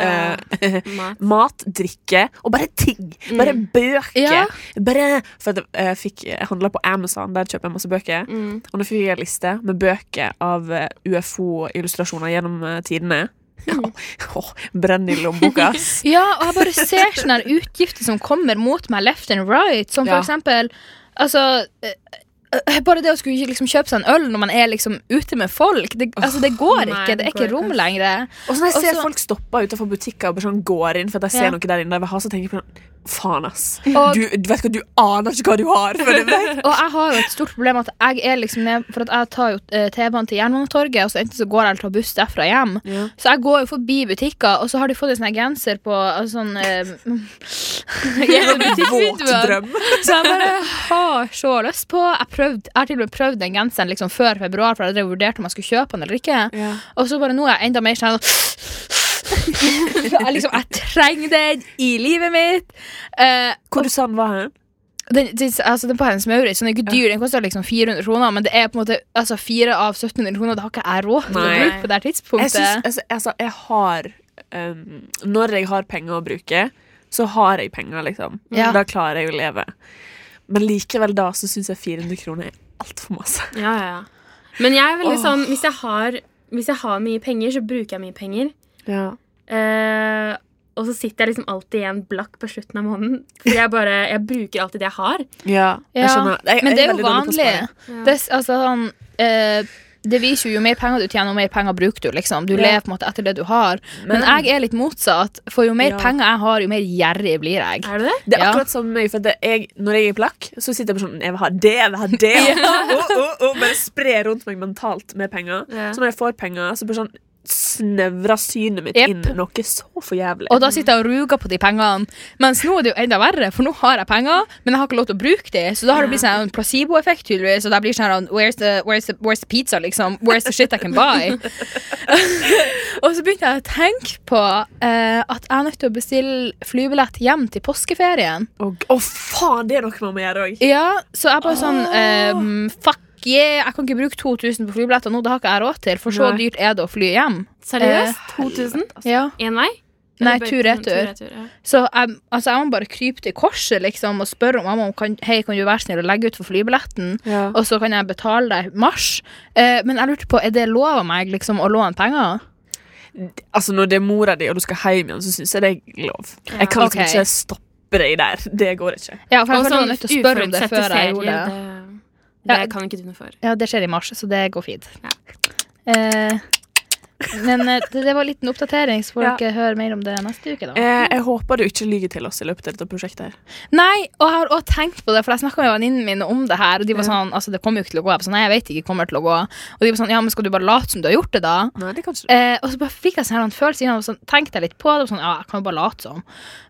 D: Mat.
C: mat, drikke og bare ting. Bare bøker.
E: Mm. Ja.
C: Bare, for at eh, jeg fikk jeg handla på Amazon, der kjøper jeg masse bøker.
E: Mm.
C: Og nå fikk jeg en liste med bøker av eh, UFO-illustrasjoner gjennom eh, tidene.
E: Mm.
C: Åh, brenn i lommeboka, ass.
E: Ja, og jeg bare ser sånne her utgifter som kommer mot meg left and right, som
C: Ja.
E: for eksempel Altså eh, eh, bare det å skulle liksom kjøpe seg en øl når man er liksom ute med folk, det, altså det
D: nei,
E: går ikke. Det er
D: det
E: ikke
D: går
E: rom
D: ikke.
E: lenger.
C: Og så når jeg ser
E: Også-
C: folk stoppe utenfor butikker og bare sånn går inn for at jeg ser
E: Ja.
C: noe der inne jeg vil ha, så tenker jeg på sånn Faen, ass.
E: Og-
C: Du, du vet hva, du aner ikke hva du har. For det vet.
E: Og jeg har jo et stort problem at jeg er liksom ned, For at jeg tar jo eh, T-banen til Jernbanetorget, og så enten så går jeg eller tar buss derfra hjem.
C: Ja.
E: Så jeg går jo forbi butikker, og så har de fått en sånn her genser på altså sånn eh, gjennom
C: Våt
E: butikkvinduene.
C: drøm.
E: Så jeg bare har så lyst på. Jeg, prøvd, jeg har til og med prøvd den genseren liksom før februar, for jeg hadde vurdert om jeg skulle kjøpe den eller ikke.
C: Ja.
E: Og så bare nå er jeg enda mer sånn jeg, liksom, jeg trenger den i livet mitt. Eh,
C: Hvor du sa den var hen?
E: den, den, altså, den på hennes Maurits den er ikke dyr, den koster liksom 400 kroner, men det er på en måte altså, 4 av 1700 kroner. Det har ikke jeg råd til å
C: Nei.
E: bruke på det her
C: Jeg,
E: tidspunktet.
C: syns- altså, altså, jeg har um, Når jeg har penger å bruke, så har jeg penger, liksom.
E: Ja.
C: Da klarer jeg å leve. Men likevel da så syns jeg 400 kroner er altfor masse.
D: Ja, ja, ja. Men jeg er veldig sånn hvis jeg, har, hvis jeg har mye penger, så bruker jeg mye penger. Eh, og så sitter jeg liksom alltid igjen blakk på slutten av måneden. For jeg bare, jeg bruker alltid det jeg har.
C: Ja, jeg
E: Ja,
C: skjønner. Jeg- jeg
E: men det er
C: veldig dårlig
E: jo
C: på å
E: vanlig.
C: spare.
E: Det, s- altså, sånn, eh, det viser jo jo mer penger du tjener, jo mer penger bruker du. liksom. Du lever på en måte etter det du har. Men, jeg er litt motsatt, for jo mer
C: Ja.
E: penger jeg har, jo mer gjerrig blir jeg.
D: Er det det?
C: Det er
E: Ja.
C: akkurat som meg. For det, jeg, når jeg er i plakk, så sitter jeg på sånn Jeg vil ha det, jeg vil ha det. Og, og, og bare sprer rundt meg mentalt med penger.
D: Ja.
C: Så når jeg får penger, så bare sånn snevrer synet mitt
E: Jep.
C: inn noe så for jævlig.
E: Og da sitter jeg og ruger på de pengene. Mens nå er det jo enda verre, for nå har jeg penger, men jeg har ikke lov til å bruke de. Så da har det blitt sånn en placeboeffekt, tydeligvis. Og da blir det sånn where's the, where's, the, where's the pizza, liksom? Where's the shit I can buy? og så begynte jeg å tenke på eh, at jeg er nødt til å bestille flybillett hjem til påskeferien.
C: Og- Å, faen! Det er noe man må gjøre òg.
E: Ja, så jeg bare sånn ehm, Fuck yeah, jeg kan ikke bruke 2000 på flybilletter nå, det har ikke jeg råd til, for så
C: Nei.
E: dyrt er det å fly hjem.
D: Seriøst? 2000?
E: Ja.
D: Én Eh, vei?
E: Nei,
D: Eller bare- sånn
E: tur-retur.
D: tur-retur, ja.
E: Så jeg, altså jeg må bare krype til korset liksom, og spørre om mamma om kan, hei, kan du være snill å legge ut for flybilletten. Og så kan jeg betale deg i mars. Eh, men jeg lurte på, er det lov av meg liksom, å låne penger?
C: Altså, når det er mora di, og du skal hjem igjen, så syns jeg det er lov. Jeg kan liksom
E: Ok.
C: ikke stoppe deg der. Det går ikke.
E: Ja, for jeg
D: Og
E: var
D: sånn
E: nødt til å spørre om det
D: uforutsette
E: før jeg gjorde
D: ferier,
E: det. Ja.
D: Det kan ikke du noe for.
E: Ja, det skjer i mars, så det går fint.
D: Ja.
E: Eh, men eh, det, det var en liten oppdatering, så får
D: Ja.
E: dere høre mer om det neste uke. da.
C: Eh, jeg håper du ikke lyver til oss i løpet av dette prosjektet. her.
E: Nei, og jeg har også tenkt på det, for jeg snakka med venninnene mine om det her. Og de var sånn, altså det kommer jo ikke til å gå. Jeg var sånn, nei, jeg vet ikke, det kommer til å gå. Og de var sånn, ja, men skal du bare late som du har gjort det, da?
C: Nei, det kan ikke du.
E: Eh, og så bare fikk jeg sånn her en følelse innan, og sånn, tenkte jeg litt på det. Og sånn, ja, jeg kan jo bare late som.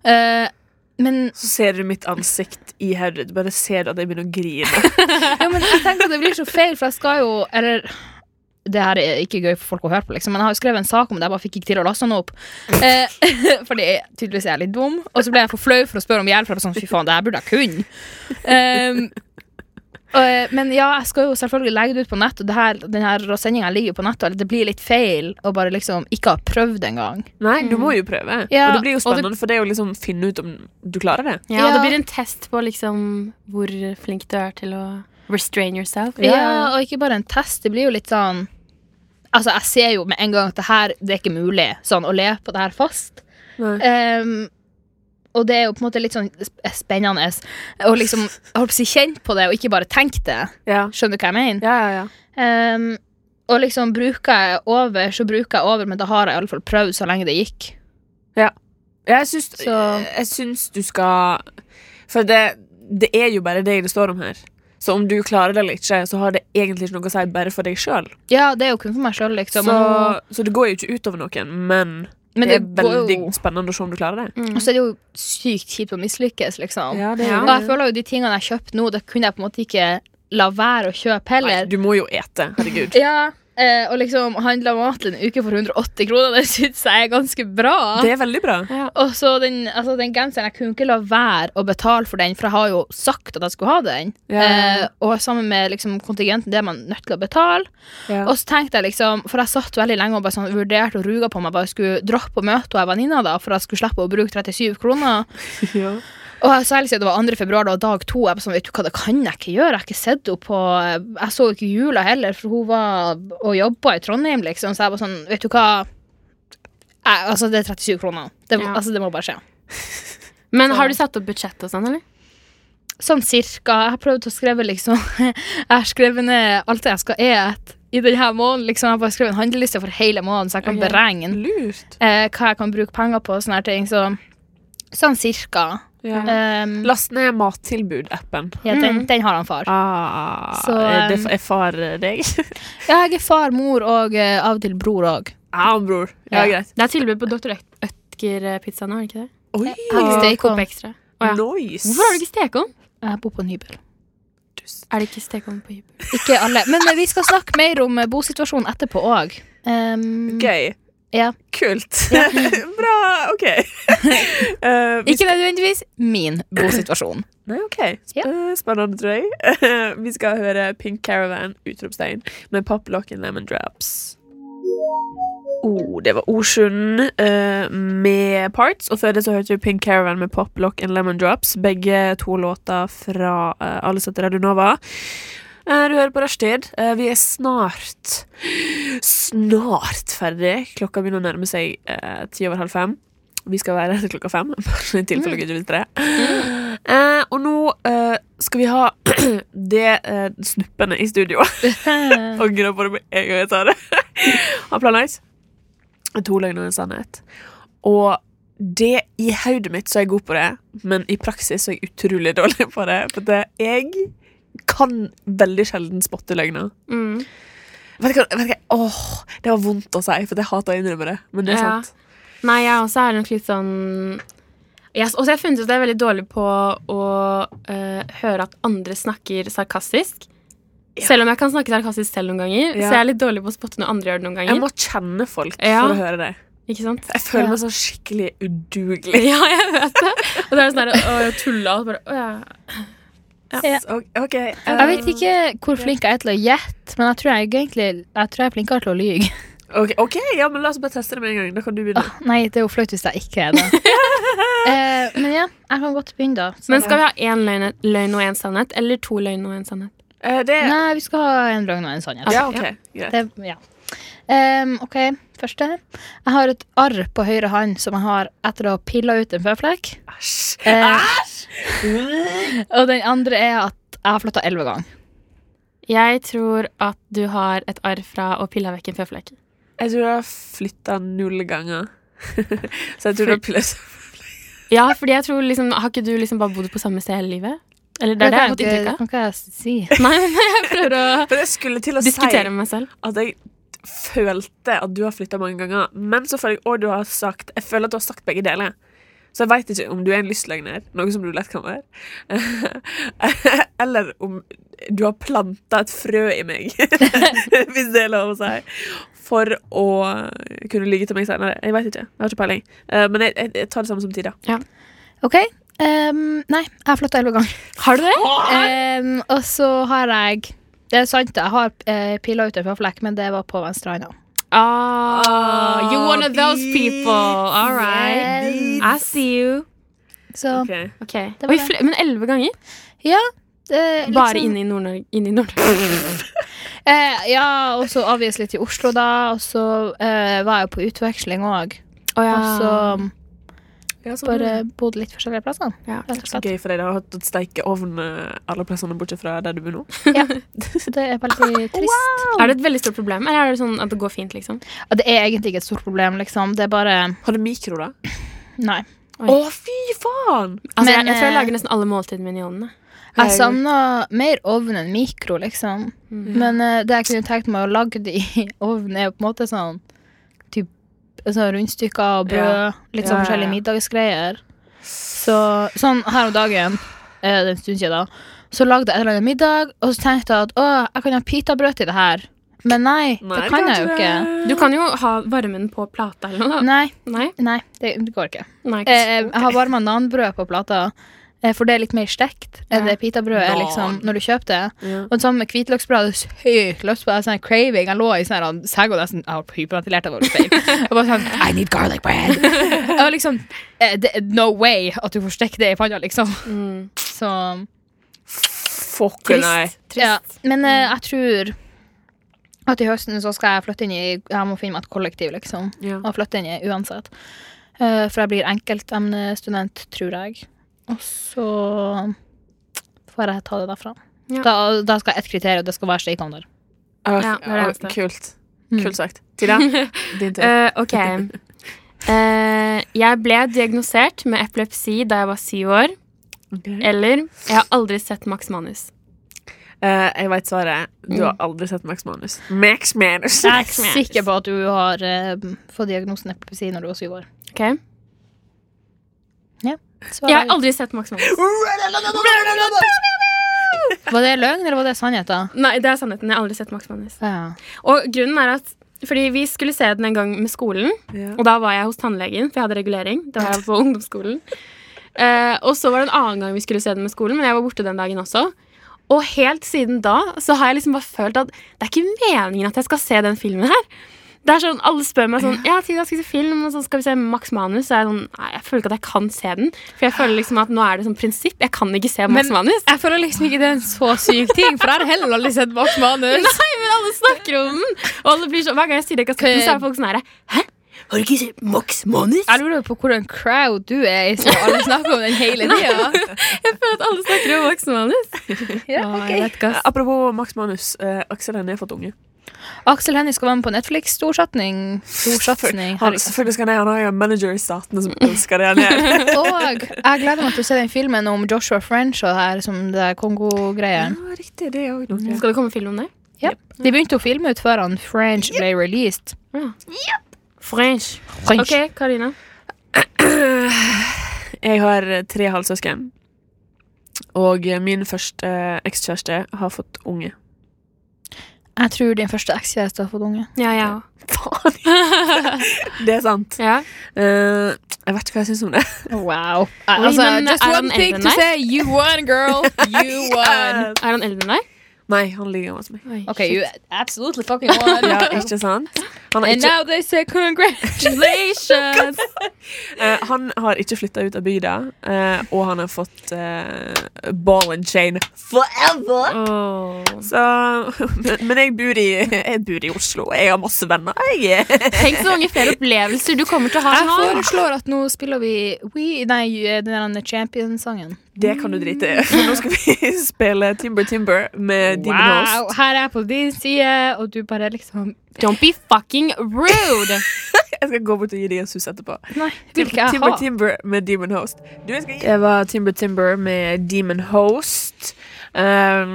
E: Eh, men,
C: Så ser du mitt ansikt i hodet. Du bare ser at jeg begynner å grine.
E: ja, men jeg tenker at det blir så feil, for jeg skal jo Eller det her er ikke gøy for folk å høre på, liksom, men jeg har jo skrevet en sak om det. Jeg bare fikk ikke til å laste den opp. Eh, fordi jeg tydeligvis er jeg litt dum. Og så ble jeg for flau for å spørre om hjelp. For jeg var sånn, fy faen, det her burde jeg kunne. Ehm, og, eh, men ja, jeg skal jo selvfølgelig legge det ut på nett, og det her, den her sendinga ligger jo på nett, og det blir litt feil å bare liksom ikke ha prøvd engang.
C: Nei, du må jo prøve. Mm.
E: Ja,
C: og det blir jo
E: og det-
C: spennende, for det er jo liksom finne ut om du klarer det.
D: Ja,
E: Ja.
D: Det blir en test på liksom hvor flink du er til å restrain yourself.
E: Ja, og ikke bare en test. Det blir jo litt sånn Altså, jeg ser jo med en gang at det her Det er ikke mulig sånn, å le på det her fast.
C: Nei.
E: Ehm, og det er jo på en måte litt sånn sp- spennende å liksom jeg holdt på å si kjent på det, og ikke bare tenke det.
C: Ja,
E: Skjønner du hva jeg mener?
C: ja, ja. ja.
E: Ehm, og liksom bruker jeg over, så bruker jeg over, men da har jeg i alle fall prøvd så lenge det gikk.
C: Jeg syns,
E: Så-
C: jeg syns du skal For det, det er jo bare deg det står om her. Så om du klarer det eller ikke, så har det egentlig ikke noe å si bare for deg sjøl.
E: Ja, det er jo kun for meg sjøl, liksom.
C: Så, så det går jo ikke utover noen, men,
E: men
C: det er
E: går
C: veldig
E: jo- Mm.
C: spennende å se om du klarer det.
E: Og så er det jo sykt kjipt å mislykkes, liksom.
C: det
D: er jo
E: Og jeg føler jo de tingene jeg kjøpte nå, det kunne jeg på en måte ikke la være å kjøpe heller.
C: Du må jo ete. Herregud.
E: Ja, eh, og liksom handla mat en uke for 180 kroner, det syns jeg er ganske bra.
C: Det er veldig bra.
E: Og så den, altså den genseren, jeg kunne ikke la være å betale for den, for jeg har jo sagt at jeg skulle ha den.
C: Ja, ja, ja.
E: Eh, og sammen med liksom, kontingenten, det er man nødt til å betale.
C: Ja.
E: Og så tenkte jeg liksom, for jeg satt veldig lenge og bare sånn, vurderte og ruga på om jeg bare skulle droppe å møte hun jeg venninna, da, for jeg skulle slippe å bruke 37 kroner.
C: Ja.
E: Og jeg så ærlig siden det var 2. februar, det var dag to. Jeg var sånn, vet du hva, det kan jeg ikke gjøre. Jeg har ikke sett henne på Jeg så ikke jula heller, for hun var og jobba i Trondheim, liksom. Så jeg var sånn, vet du hva jeg, Altså, det er 37 kroner. Det, må-
D: Ja.
E: altså, det må bare skje.
D: Men har du satt opp budsjett og sånn, eller?
E: Sånn cirka. Jeg har prøvd å skrive liksom Jeg har skrevet ned alt det jeg skal et i denne måneden. Liksom. Jeg har bare skrevet en handleliste for hele måneden, så jeg kan
D: Ok.
E: beregne
C: Lurt.
E: eh, hva jeg kan bruke penger på og sånne her ting. Så sånn cirka.
C: Ja.
D: Eh,
E: Um,
C: Last ned mattilbud-appen.
E: ja, den, den har han far.
C: Ah,
E: Så,
C: er det
E: um,
C: er far eh, deg?
E: Ja, jeg er far, mor og eh, av og til bror òg.
C: Ja, bror. Ja,
E: Ja.
C: greit.
D: Det er tilbud på Dr. Ødger-pizza nå, er det ikke det?
C: Oi,
E: Jeg
D: Coop Extra. Å, ja.
C: nice.
D: Hvorfor har du ikke stekeovn?
E: bor på en hybel.
D: Er det ikke stekeovn på hybel?
E: Ikke alle. Men eh, vi skal snakke mer om eh, bosituasjonen etterpå òg. Um,
C: Gøy.
E: Ja.
C: Kult. Bra. OK. Eh, vi-
E: ikke nødvendigvis min bosituasjon.
C: nei, ok. Sp
E: Ja.
C: eh, Spennende, tror jeg. vi skal høre Pink Caravan, utropstegn, med Pop Lock and Lemon Drops. Oh, det var Ordsund eh, med Parts, og før det så hørte vi Pink Caravan med Pop Lock and Lemon Drops. Begge to låter fra eh, Alle setter Radio Nova. Eh, Du hører på Rushtid. Eh, Vi er snart snart ferdig. Klokka begynner å nærme seg eh, ti over halv fem. Vi skal være her til klokka fem, bare i tilfelle dere ikke visste det. Eh, og nå eh, skal vi ha det eh, snuppene i studio. Angrer på det med en gang jeg tar det. Har planlagt. To løgner og en sannhet. Og det i hodet mitt så er jeg god på det, men i praksis så er jeg utrolig dårlig på det. For det jeg kan veldig sjelden spotte løgner.
D: Mm.
C: Vet du hva, vet du hva? Åh, det var vondt å si, for jeg hater å innrømme det. Men det er
D: Ja.
C: sant.
D: Nei, jeg også er nok litt sånn jeg, også har jeg funnet ut at jeg er veldig dårlig på å eh, høre at andre snakker sarkastisk. Selv om jeg kan snakke sarkastisk selv noen ganger.
C: Ja.
D: Så jeg er litt dårlig på å spotte når andre gjør det noen
C: Jeg
D: ganger.
C: må kjenne folk
D: Ja.
C: for å høre det.
D: Ikke sant?
C: Jeg føler meg sånn skikkelig udugelig.
D: Ja, jeg vet det. Og da er det sånn her, å, jeg tulla, og så bare, å, ja.
C: Ok, ok, eh,
E: Jeg vet ikke hvor flink jeg er til å gjette, men jeg tror jeg, egentlig, jeg tror jeg er flinkere til å lyge.
C: ok, ok, ja, men la oss bare teste det med en gang. Da kan du begynne.
E: Åh, Ah, Nei, det er jo flaut hvis jeg ikke er det. Eh, men ja, jeg kan godt begynne, da. Så-
D: Men skal vi ha én løgn, løgn og én sannhet, eller to løgn og én sannhet?
C: Eh, det
E: Ah. Nei, vi skal ha en løgn og en sannhet.
C: Ja, ok, greit.
E: Det, ja. Ehm, OK, første. Jeg har et arr på høyre hånd som jeg har etter å ha pilla ut en føflekk.
C: Æsj.
E: Eh, og den andre er at jeg har flytta elleve ganger.
D: Jeg tror at du har et arr fra å pille vekk en føflekk.
C: Jeg tror jeg har flytta null ganger. så jeg tror det er pille
D: Ja, fordi jeg tror liksom Har ikke du liksom bare bodd på samme sted hele livet? Eller det er det jeg har fått inntrykk av.
E: kan ikke jeg si.
D: Nei, men jeg prøver å
C: Men jeg skulle til å
D: diskutere med meg selv.
C: si at jeg følte at du har flytta mange ganger, men så føler jeg også du har sagt Jeg føler at du har sagt begge deler. Så jeg veit ikke om du er en lystløgner, noe som du lett kan være, eller om du har planta et frø i meg, hvis det er lov å si, for å kunne lyge til meg senere. Jeg veit ikke. Jeg har ikke peiling. Eh, Men jeg, jeg, jeg tar det samme som Tida.
E: OK. ehm, nei, jeg har flytta elleve ganger.
D: Har du det?
E: Ehm, og så har jeg Det er sant, jeg har uh, pila ut en føflekk, men det var på venstre hånda.
D: Ah, you're one of those people. All right.
E: Yes.
D: I see you.
E: Så
C: Ok.
D: Ok.
E: Det var
D: Oi,
E: det.
D: fl men elleve ganger?
E: ja. det er
D: Bare
E: liksom-
D: inne i Nord-Norge? Inne i Nord-Norge.
E: Eh, ja, og så obviously til Oslo, da. Og så eh, var jeg på utveksling òg.
D: Å ja. Sånn
E: Og så
C: Ja, så
E: bare bodde litt forskjellige plasser.
D: Ja.
E: rett og
C: Så
E: slett.
C: gøy for deg. Det har hatt et steikeovn eh, alle plassene bortsett fra der du bor nå.
E: Så det er veldig trist.
D: Er det et veldig stort problem, eller er det sånn at det går fint, liksom?
E: Ja, Det er egentlig ikke et stort problem, liksom. Det er bare
C: Har du mikro, da?
E: Nei.
D: Oi.
C: Å, fy faen!
D: Altså,
E: Men,
D: jeg, jeg tror jeg
E: eh,
D: lager nesten alle måltidene mine i ovnen. jeg.
E: Jeg savner mer ovn enn mikro, liksom.
D: Mm.
E: Men eh, det jeg kunne tenkt meg å lage det i ovn, er jo på en måte sånn typ, altså, rundstykker og brød. Litt
C: Ja,
E: sånn
C: ja,
E: forskjellige
C: ja.
E: middagsgreier. Så, sånn her om dagen, eh, det er en stund siden, da, så lagde jeg en eller annen middag, og så tenkte jeg at å, jeg kan ha pitabrød til det her. Men nei, det kan jeg jo ikke.
D: Du kan jo ha varmen på plata eller noe. da.
E: Nei,
D: Nei?
E: nei, det går ikke.
D: Nei,
E: Eh,
D: ikke
E: eh,
D: sant.
E: jeg har varma nanbrød på plata. eh, For det er litt mer stekt enn
D: Ja.
E: det pitabrødet er liksom, når du kjøper det. Og det samme med hvitløksbrød. Det er sykt lyst på det. Sånn craving. Jeg lå i sånn her seg og nesten Jeg har hyperventilert av feil. Jeg bare sånn I need garlic bread. Jeg var liksom eh, det, er No way at du får stekt det i panna, liksom.
D: Mm.
E: Så
C: Fuck nei.
E: ja. Men eh, jeg tror at i høsten så skal jeg flytte inn i Jeg må finne meg et kollektiv, liksom.
C: Ja.
E: Og flytte inn i uansett. Eh, for jeg blir enkeltemnestudent, tror jeg. Og så får jeg ta det derfra.
D: Ja.
E: Da, da skal jeg ett kriterium, og det skal være stekeovner.
C: Ah,
D: Ja, det er det
C: ah,
D: eneste.
C: kult.
E: Mm.
C: Kult sagt. Tida, din tur.
D: Eh, ok. Eh, jeg ble diagnosert med epilepsi da jeg var syv år.
C: Ok.
D: Eller jeg har aldri sett Max Manus.
C: Eh, jeg veit svaret. Du
E: Hmm.
C: har aldri sett Max Manus. Max Manus.
E: Jeg er sikker på at du har eh, fått diagnosen epilepsi når du var syv år.
D: Ok? Jeg har aldri sett Max Manus.
E: Var det løgn, eller var det sannhet? da?
D: Nei, det er sannheten. Jeg har aldri sett Max Manus.
E: Ja.
D: Og grunnen er at fordi vi skulle se den en gang med skolen,
C: Ja.
D: og da var jeg hos tannlegen, for jeg hadde regulering. Det var jeg på ungdomsskolen. Eh, og så var det en annen gang vi skulle se den med skolen, men jeg var borte den dagen også. Og helt siden da så har jeg liksom bare følt at det er ikke meningen at jeg skal se den filmen her. Det er sånn, Alle spør meg sånn Ja, Tina, skal vi se film? Og så skal vi se Max Manus. Så er jeg sånn, nei, jeg føler ikke at jeg kan se den. For jeg føler liksom at nå er det sånn prinsipp. Jeg kan ikke se Max Manus.
E: Jeg føler liksom ikke det er en så syk ting, for jeg har heller aldri sett Max Manus.
D: Nei, men alle snakker om den! Og alle blir sånn, Hver gang jeg sier det, så er folk sånn her Hæ?
B: Har du ikke sett Max Manus?
E: Jeg lurer jo på hvordan crowd du er i, så alle snakker om den hele tida.
D: Jeg føler at alle snakker om Max Manus.
E: Ja, ok.
C: Eh, Apropos Max Manus. eh, Aksel Hennie har fått unge.
E: Aksel Hennie skal være med på Netflix. Storsatsing. Storsatsing.
C: Han, selvfølgelig skal han det. Han har jo en manager i statene som elsker det han gjør.
E: Og jeg gleder meg til å se den filmen om Joshua French og det her som det
C: Ja,
E: Kongo-greien.
C: riktig. Det er òg noe.
D: Skal det komme film om det?
E: Ja. De begynte å filme ut før han French ble released.
D: French.
E: French.
D: Ok, Karina.
C: Eh, Jeg har eh, tre halvsøsken. Og eh, min første ekskjæreste har fått unge.
E: Jeg tror din første ekskjæreste har fått unge.
D: Ja, jeg òg.
C: Faen! Det er sant.
D: Ja.
C: Eh, jeg vet ikke hva jeg syns om det.
E: Wow.
D: Oi,
E: Altså,
D: men
E: just
D: er han
E: one thing
D: eldre enn
E: to
D: deg?
E: say. You won, girl. You won.
D: Er han eldre enn deg?
C: Eh, Nei, han ligger hos meg.
D: Oi,
E: OK, you absolutely fucking won.
C: Ja, ikke sant? Han har
E: And
C: ikke,
E: now they say congratulations.
C: eh, han har ikke flytta ut av bygda, eh, og han har fått eh, ball and chain forever!
D: Åh.
C: Så, men, men jeg, bor i, jeg bor i Oslo. Jeg har masse venner. Jeg
D: Tenk så mange flere opplevelser du kommer til å ha.
E: Jeg
D: med han.
E: foreslår at nå spiller vi We Nei, den der Champions-sangen.
C: Det kan du drite i, for nå skal vi spille Timber Timber med Demon Host.
G: Wow, her er jeg på din side, og du bare liksom
D: Don't be fucking rude!
C: Jeg skal gå bort og gi deg en sus etterpå.
G: Nei, vil ikke jeg
C: Timber
G: ha.
C: Timber med Demon Host. Du, jeg skal gi... Det var Timber Timber med Demon Host. Um,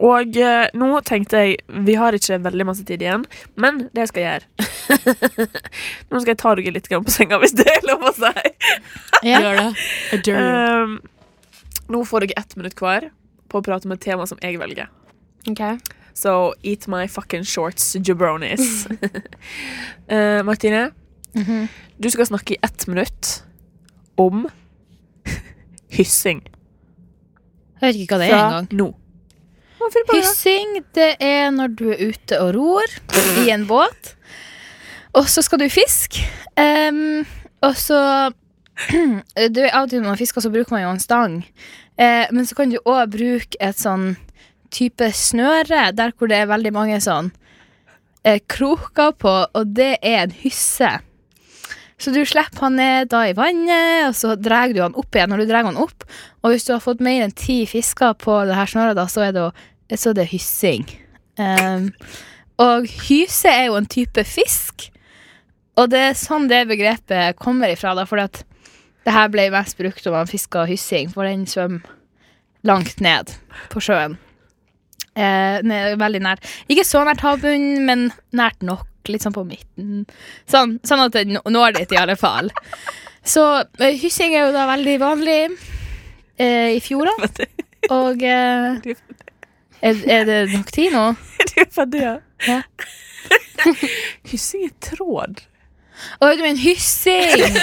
C: og eh, nå tenkte jeg Vi har ikke veldig masse tid igjen, men det skal jeg gjøre. nå skal jeg ta dere litt grann på senga, hvis det er lov å si.
D: Gjør det. Eh.
C: Um, nå får dere ett minutt hver på å prate om et tema som jeg velger.
D: Ok.
C: So eat my fucking shorts, jabronis. Eh, Martine,
E: Mhm.
C: du skal snakke i ett minutt om hyssing
G: Jeg vet ikke hva det er
C: fra
G: engang.
C: nå.
E: Hyssing, det er når du er ute og ror i en båt. Og så skal du fiske. Em, og så du, er Av og til når man fisker, så bruker man jo en stang. Eh, men så kan du òg bruke et sånn type snøre der hvor det er veldig mange sånn eh, kroker på, og det er en hysse. Så du slipper han ned da i vannet, og så drar du han opp igjen. Når du drar han opp, og hvis du har fått mer enn ti fisker på det her snøret, da, så er det å så det er hyssing. Ehm, og hyse er jo en type fisk. Og det er sånn det begrepet kommer ifra, da, fordi at det her ble mest brukt om man fiska hyssing, for den svømmer langt ned på sjøen. Eh, ned, veldig nær. Ikke så nært havbunnen, men nært nok. Litt sånn på midten. Sånn, sånn at den nå- når dit, i alle fall. Så eh, hyssing er jo da veldig vanlig eh, i fjordene. Og eh, er, er det nok tid nå?
C: Du er ferdig, ja?
E: Ja.
C: hyssing i tråd.
E: Å, du mener hyssing!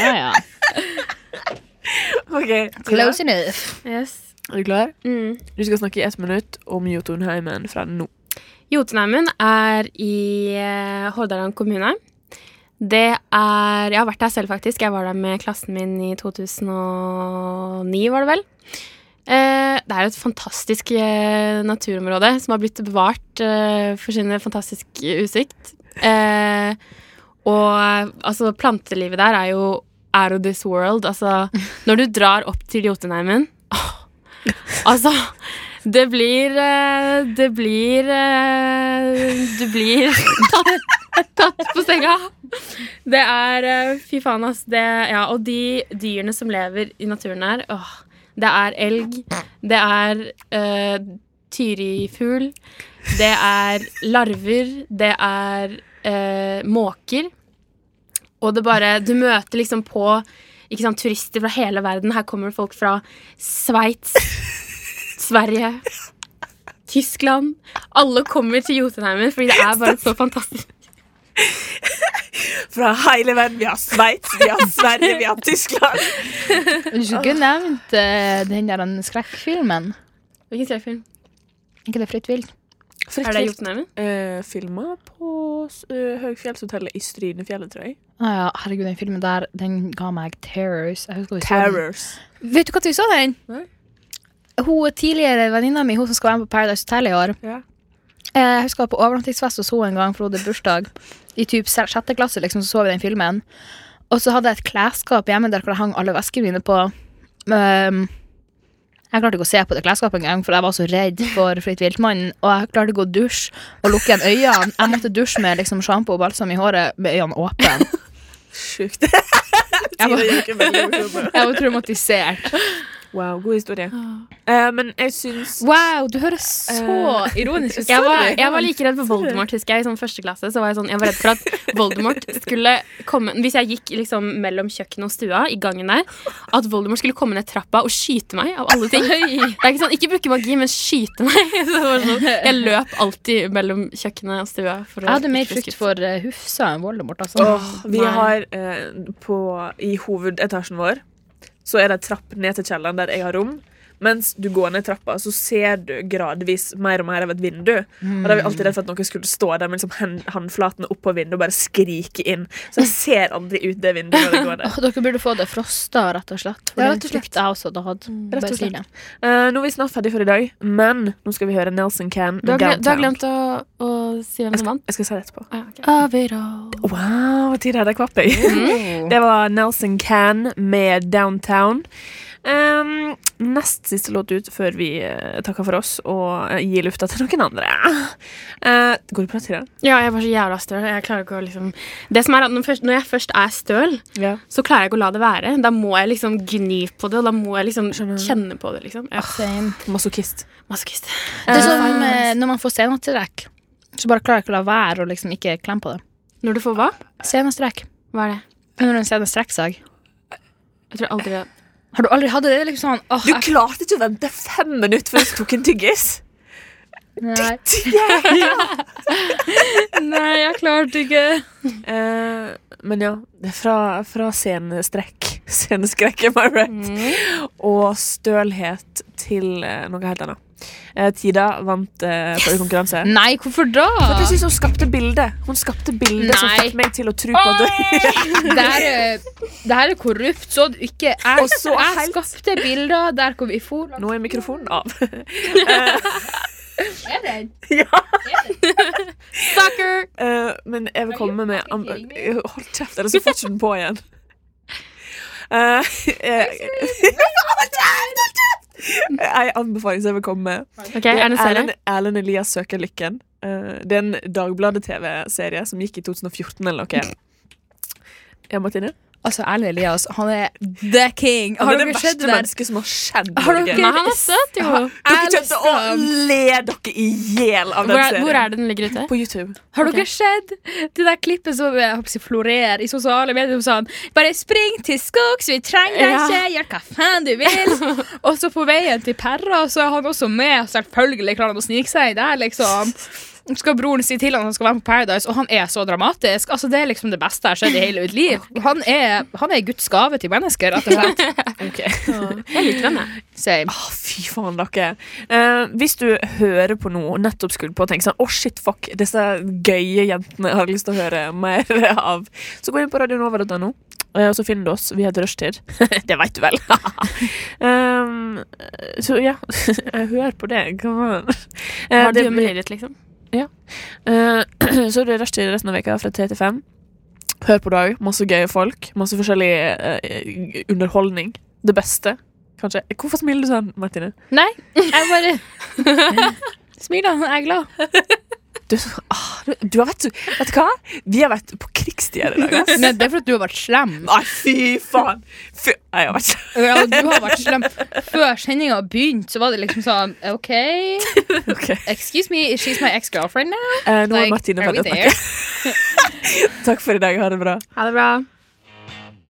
E: ja, ja.
C: Ok,
E: Close enough.
D: Yes.
C: Er du klar?
D: Mm.
C: Du skal snakke i ett minutt om Jotunheimen fra nå.
D: Jotunheimen er i eh, Hordaland kommune. Det er Jeg har vært der selv, faktisk. Jeg var der med klassen min i 2009, var det vel. Eh, Det er et fantastisk eh, naturområde som har blitt bevart eh, for sin fantastiske utsikt. Eh, Og eh, altså, plantelivet der er jo out of this world. Altså, når du drar opp til Jotunheimen åh, Altså, det blir eh, Det blir eh, Du blir tatt, tatt på senga. Det er eh, Fy faen, ass. Det, ja, og de dyrene som lever i naturen her åh, Det er elg. Det er eh, tyrifugl. Det er larver. Det er eh, måker. Og det bare Du møter liksom på ikke sant, turister fra hele verden. Her kommer folk fra Sveits, Sverige, Tyskland. Alle kommer til Jotunheimen fordi det er bare et så fantastisk
C: Fra hele verden. Vi har Sveits, vi har Sverige, vi har Tyskland.
E: Du skulle ikke nevnt eh, den der den skrekkfilmen.
D: Hvilken skrekkfilm?
E: ikke det fritt vilt?
D: Er det Jotunheimen?
C: Eh, Filma på eh, Høgfjellshotellet i Strynefjellet, tror jeg.
E: Å ja, herregud, den filmen der, den ga meg terrors. Jeg husker vi så den.
C: Terrors.
E: Vet du hva du så den?
C: Nei.
E: Hun tidligere venninna mi, hun som skal være med på Paradise Hotel i år.
C: Ja.
E: Eh, Jeg husker jeg var på overnattingsfest hos henne en gang, for hun hadde bursdag. I typ se- sjette klasse liksom, så så vi den filmen. Og så hadde jeg et klesskap hjemme der hvor det hang alle veskene mine på. Ehm, jeg klarte ikke å se på det klesskapet engang, for jeg var så redd for Fritt viltmannen. Og jeg klarte ikke å dusje og lukke igjen øynene. Jeg måtte dusje med liksom, sjampo og balsam i håret med øynene åpne.
C: Sjukt.
E: Jeg var,
C: Det gikk jo veldig fort opp.
E: jeg var traumatisert.
C: Wow, god historie.
D: Ah.
C: Eh, men jeg syns
E: Wow, du høres
C: Eh,
E: så ironisk ut.
D: Eh, Jeg var, jeg var like redd for Voldemort, husker jeg. I sånn første klasse så var jeg sånn Jeg var redd for at Voldemort skulle komme Hvis jeg gikk liksom mellom kjøkkenet og stua, i gangen der, at Voldemort skulle komme ned trappa og skyte meg, av alle ting. Det er ikke sånn Ikke bruke magi, men skyte meg. Så det var sånn, jeg løp alltid mellom kjøkkenet og stua. For å
E: Jeg hadde mer
D: ikke bli skutt.
E: frykt for eh, Hufsa enn Voldemort. Altså.
C: Åh, Vi
D: Nei.
C: har eh, på, I hovedetasjen vår så er det en trapp ned til kjelleren der jeg har rom. Mens du går ned trappa, så ser du gradvis mer og mer av et vindu. Og da er vi alltid redd for at noen skulle stå der med liksom hen- håndflatene opp på vinduet og bare skrike inn. Så jeg ser aldri ut det vinduet når jeg går der.
E: Åh, dere burde få det frosta, rett og slett. Mm, For
C: Ja,
E: den
C: rett og slett.
E: frykter jeg også at jeg hadde.
C: Rett
E: Bare
C: og
E: sier
C: slett.
E: det.
C: Eh, nå er vi snart ferdig for i dag, men nå skal vi høre Nelson Can
D: Du har, gle- du har
C: Downtown.
D: glemt å, å og si hvem som vant?
C: Jeg skal si det etterpå.
D: Ah, ok.
C: Wow, tid hadde jeg kvapp deg. Det var Nelson Can med Downtown. Um, nest siste låt ut før vi eh, takker for oss og eh, gir lufta til noen andre. Eh, går det bra, Tida?
D: Ja, jeg var så jævla støl. Jeg klarer ikke å liksom Det som er at når, først, når jeg først er støl,
C: Ja.
D: så klarer jeg ikke å la det være. Da må jeg liksom gni på det, og da må jeg liksom kjenne på det, liksom. Ja.
E: Same.
C: Masochist.
D: Masochist.
E: Det er sånn eh, når man får senhetstrekk, så bare klarer jeg ikke å la være å liksom ikke klemme på det.
D: Når du får hva?
E: Senhetstrekk.
D: Hva er det?
E: Når en senhetstrekksag.
D: Jeg tror aldri det.
E: Har du aldri hatt det? Det er liksom sånn åh,
C: Du klarte ikke å vente fem minutter før du tok en tyggis!
E: jeg- nei.
G: Nei, jeg klarte ikke.
C: Eh, men ja, det er fra, fra scenestrekk. Sceneskrekk, am I
D: Mm.
C: right? Og stølhet til eh, noe helt annet. Eh, Tida vant uh, forrige konkurranse.
E: nei, hvorfor da?
C: For jeg synes hun skapte bildet Hun skapte bildet som
E: Nei.
C: fikk meg til å tro på det.
E: Det her, er- det her er korrupt. Så du ikke jeg,
C: Og så
E: jeg
C: helt-
E: skapte bilder der hvor vi for.
C: Nå er mikrofonen av.
E: Er det?
D: Sucker!
C: Eh, men jeg vil komme med amb- Hold kjeft, ellers så får ikke den på igjen. Eh, jeg- Hold kjeft, hold kjeft! En anbefaling som jeg vil komme med.
D: Ok, Er det en serie?
C: Erlend, Erlend Elias søker lykken. Eh, det er en Dagbladet-TV-serie som gikk i 2014 eller noe. Ja, Martine?
E: Altså, ærlig Elias, han er the king.
C: Han
E: Har
C: er det
E: dere sett
C: verste
E: det der?
C: mennesket som har skjedd i
E: Har dere-
C: Norge.
D: Nei, han er søt, jo.
C: Dere kjente å le dere i hjel av den
D: Hvor er,
C: serien.
D: hvor er det den ligger ute?
C: På YouTube.
G: Har
D: Ok.
G: dere sett det der klippet som jeg håper å si, florerer i sosiale medier? om Sånn, bare spring til skogs, vi trenger deg
D: Ja.
G: ikke, gjør hva faen du vil. og så på veien til Perra så er han også med, og selvfølgelig klarer han å snike seg der, liksom. Skal broren si til han at han skal være med på Paradise, og han er så dramatisk. Altså, det er liksom det beste jeg har skjedd i hele mitt liv. Han er, han er Guds gave til mennesker, rett og slett.
D: Jeg liker den, jeg.
G: Same.
C: Å, fy faen, dere. Eh, hvis du hører på noe og nettopp skulle på og tenker sånn Å, shit, fuck, disse gøye jentene har lyst til å høre mer av, så gå inn på radionova.no, eh, og så finner du oss. Vi heter Rushtid. det veit du vel. um, så ja, hør på det. Come on. Eh,
D: Har du
C: det blir-
D: humiliert, liksom?
C: Eh, Så det er rushtid resten av veka fra 3 til 5. Hør på dag. Masse gøye folk. Masse forskjellig eh, underholdning. Det beste, kanskje. Hvorfor smiler du sånn, Martine?
G: Jeg bare Smil, da. Jeg er glad.
C: Du, er så- ah, du, du har vært Vet du hva? Vi har vært på krigsstier i dag. ass.
E: Men det er for at du har vært slem.
C: Nei, fy faen! Fy, nei, jeg har vært
E: Ja, du har vært slem. Før sendinga begynte, så var det liksom sånn OK,
C: Ok.
E: excuse me, she's my ex-girlfriend now.
C: Eh, Nå er
E: Like,
C: Martine
E: are we
C: ferdig å snakke. Takk for i dag. Ha det bra.
D: Ha det bra.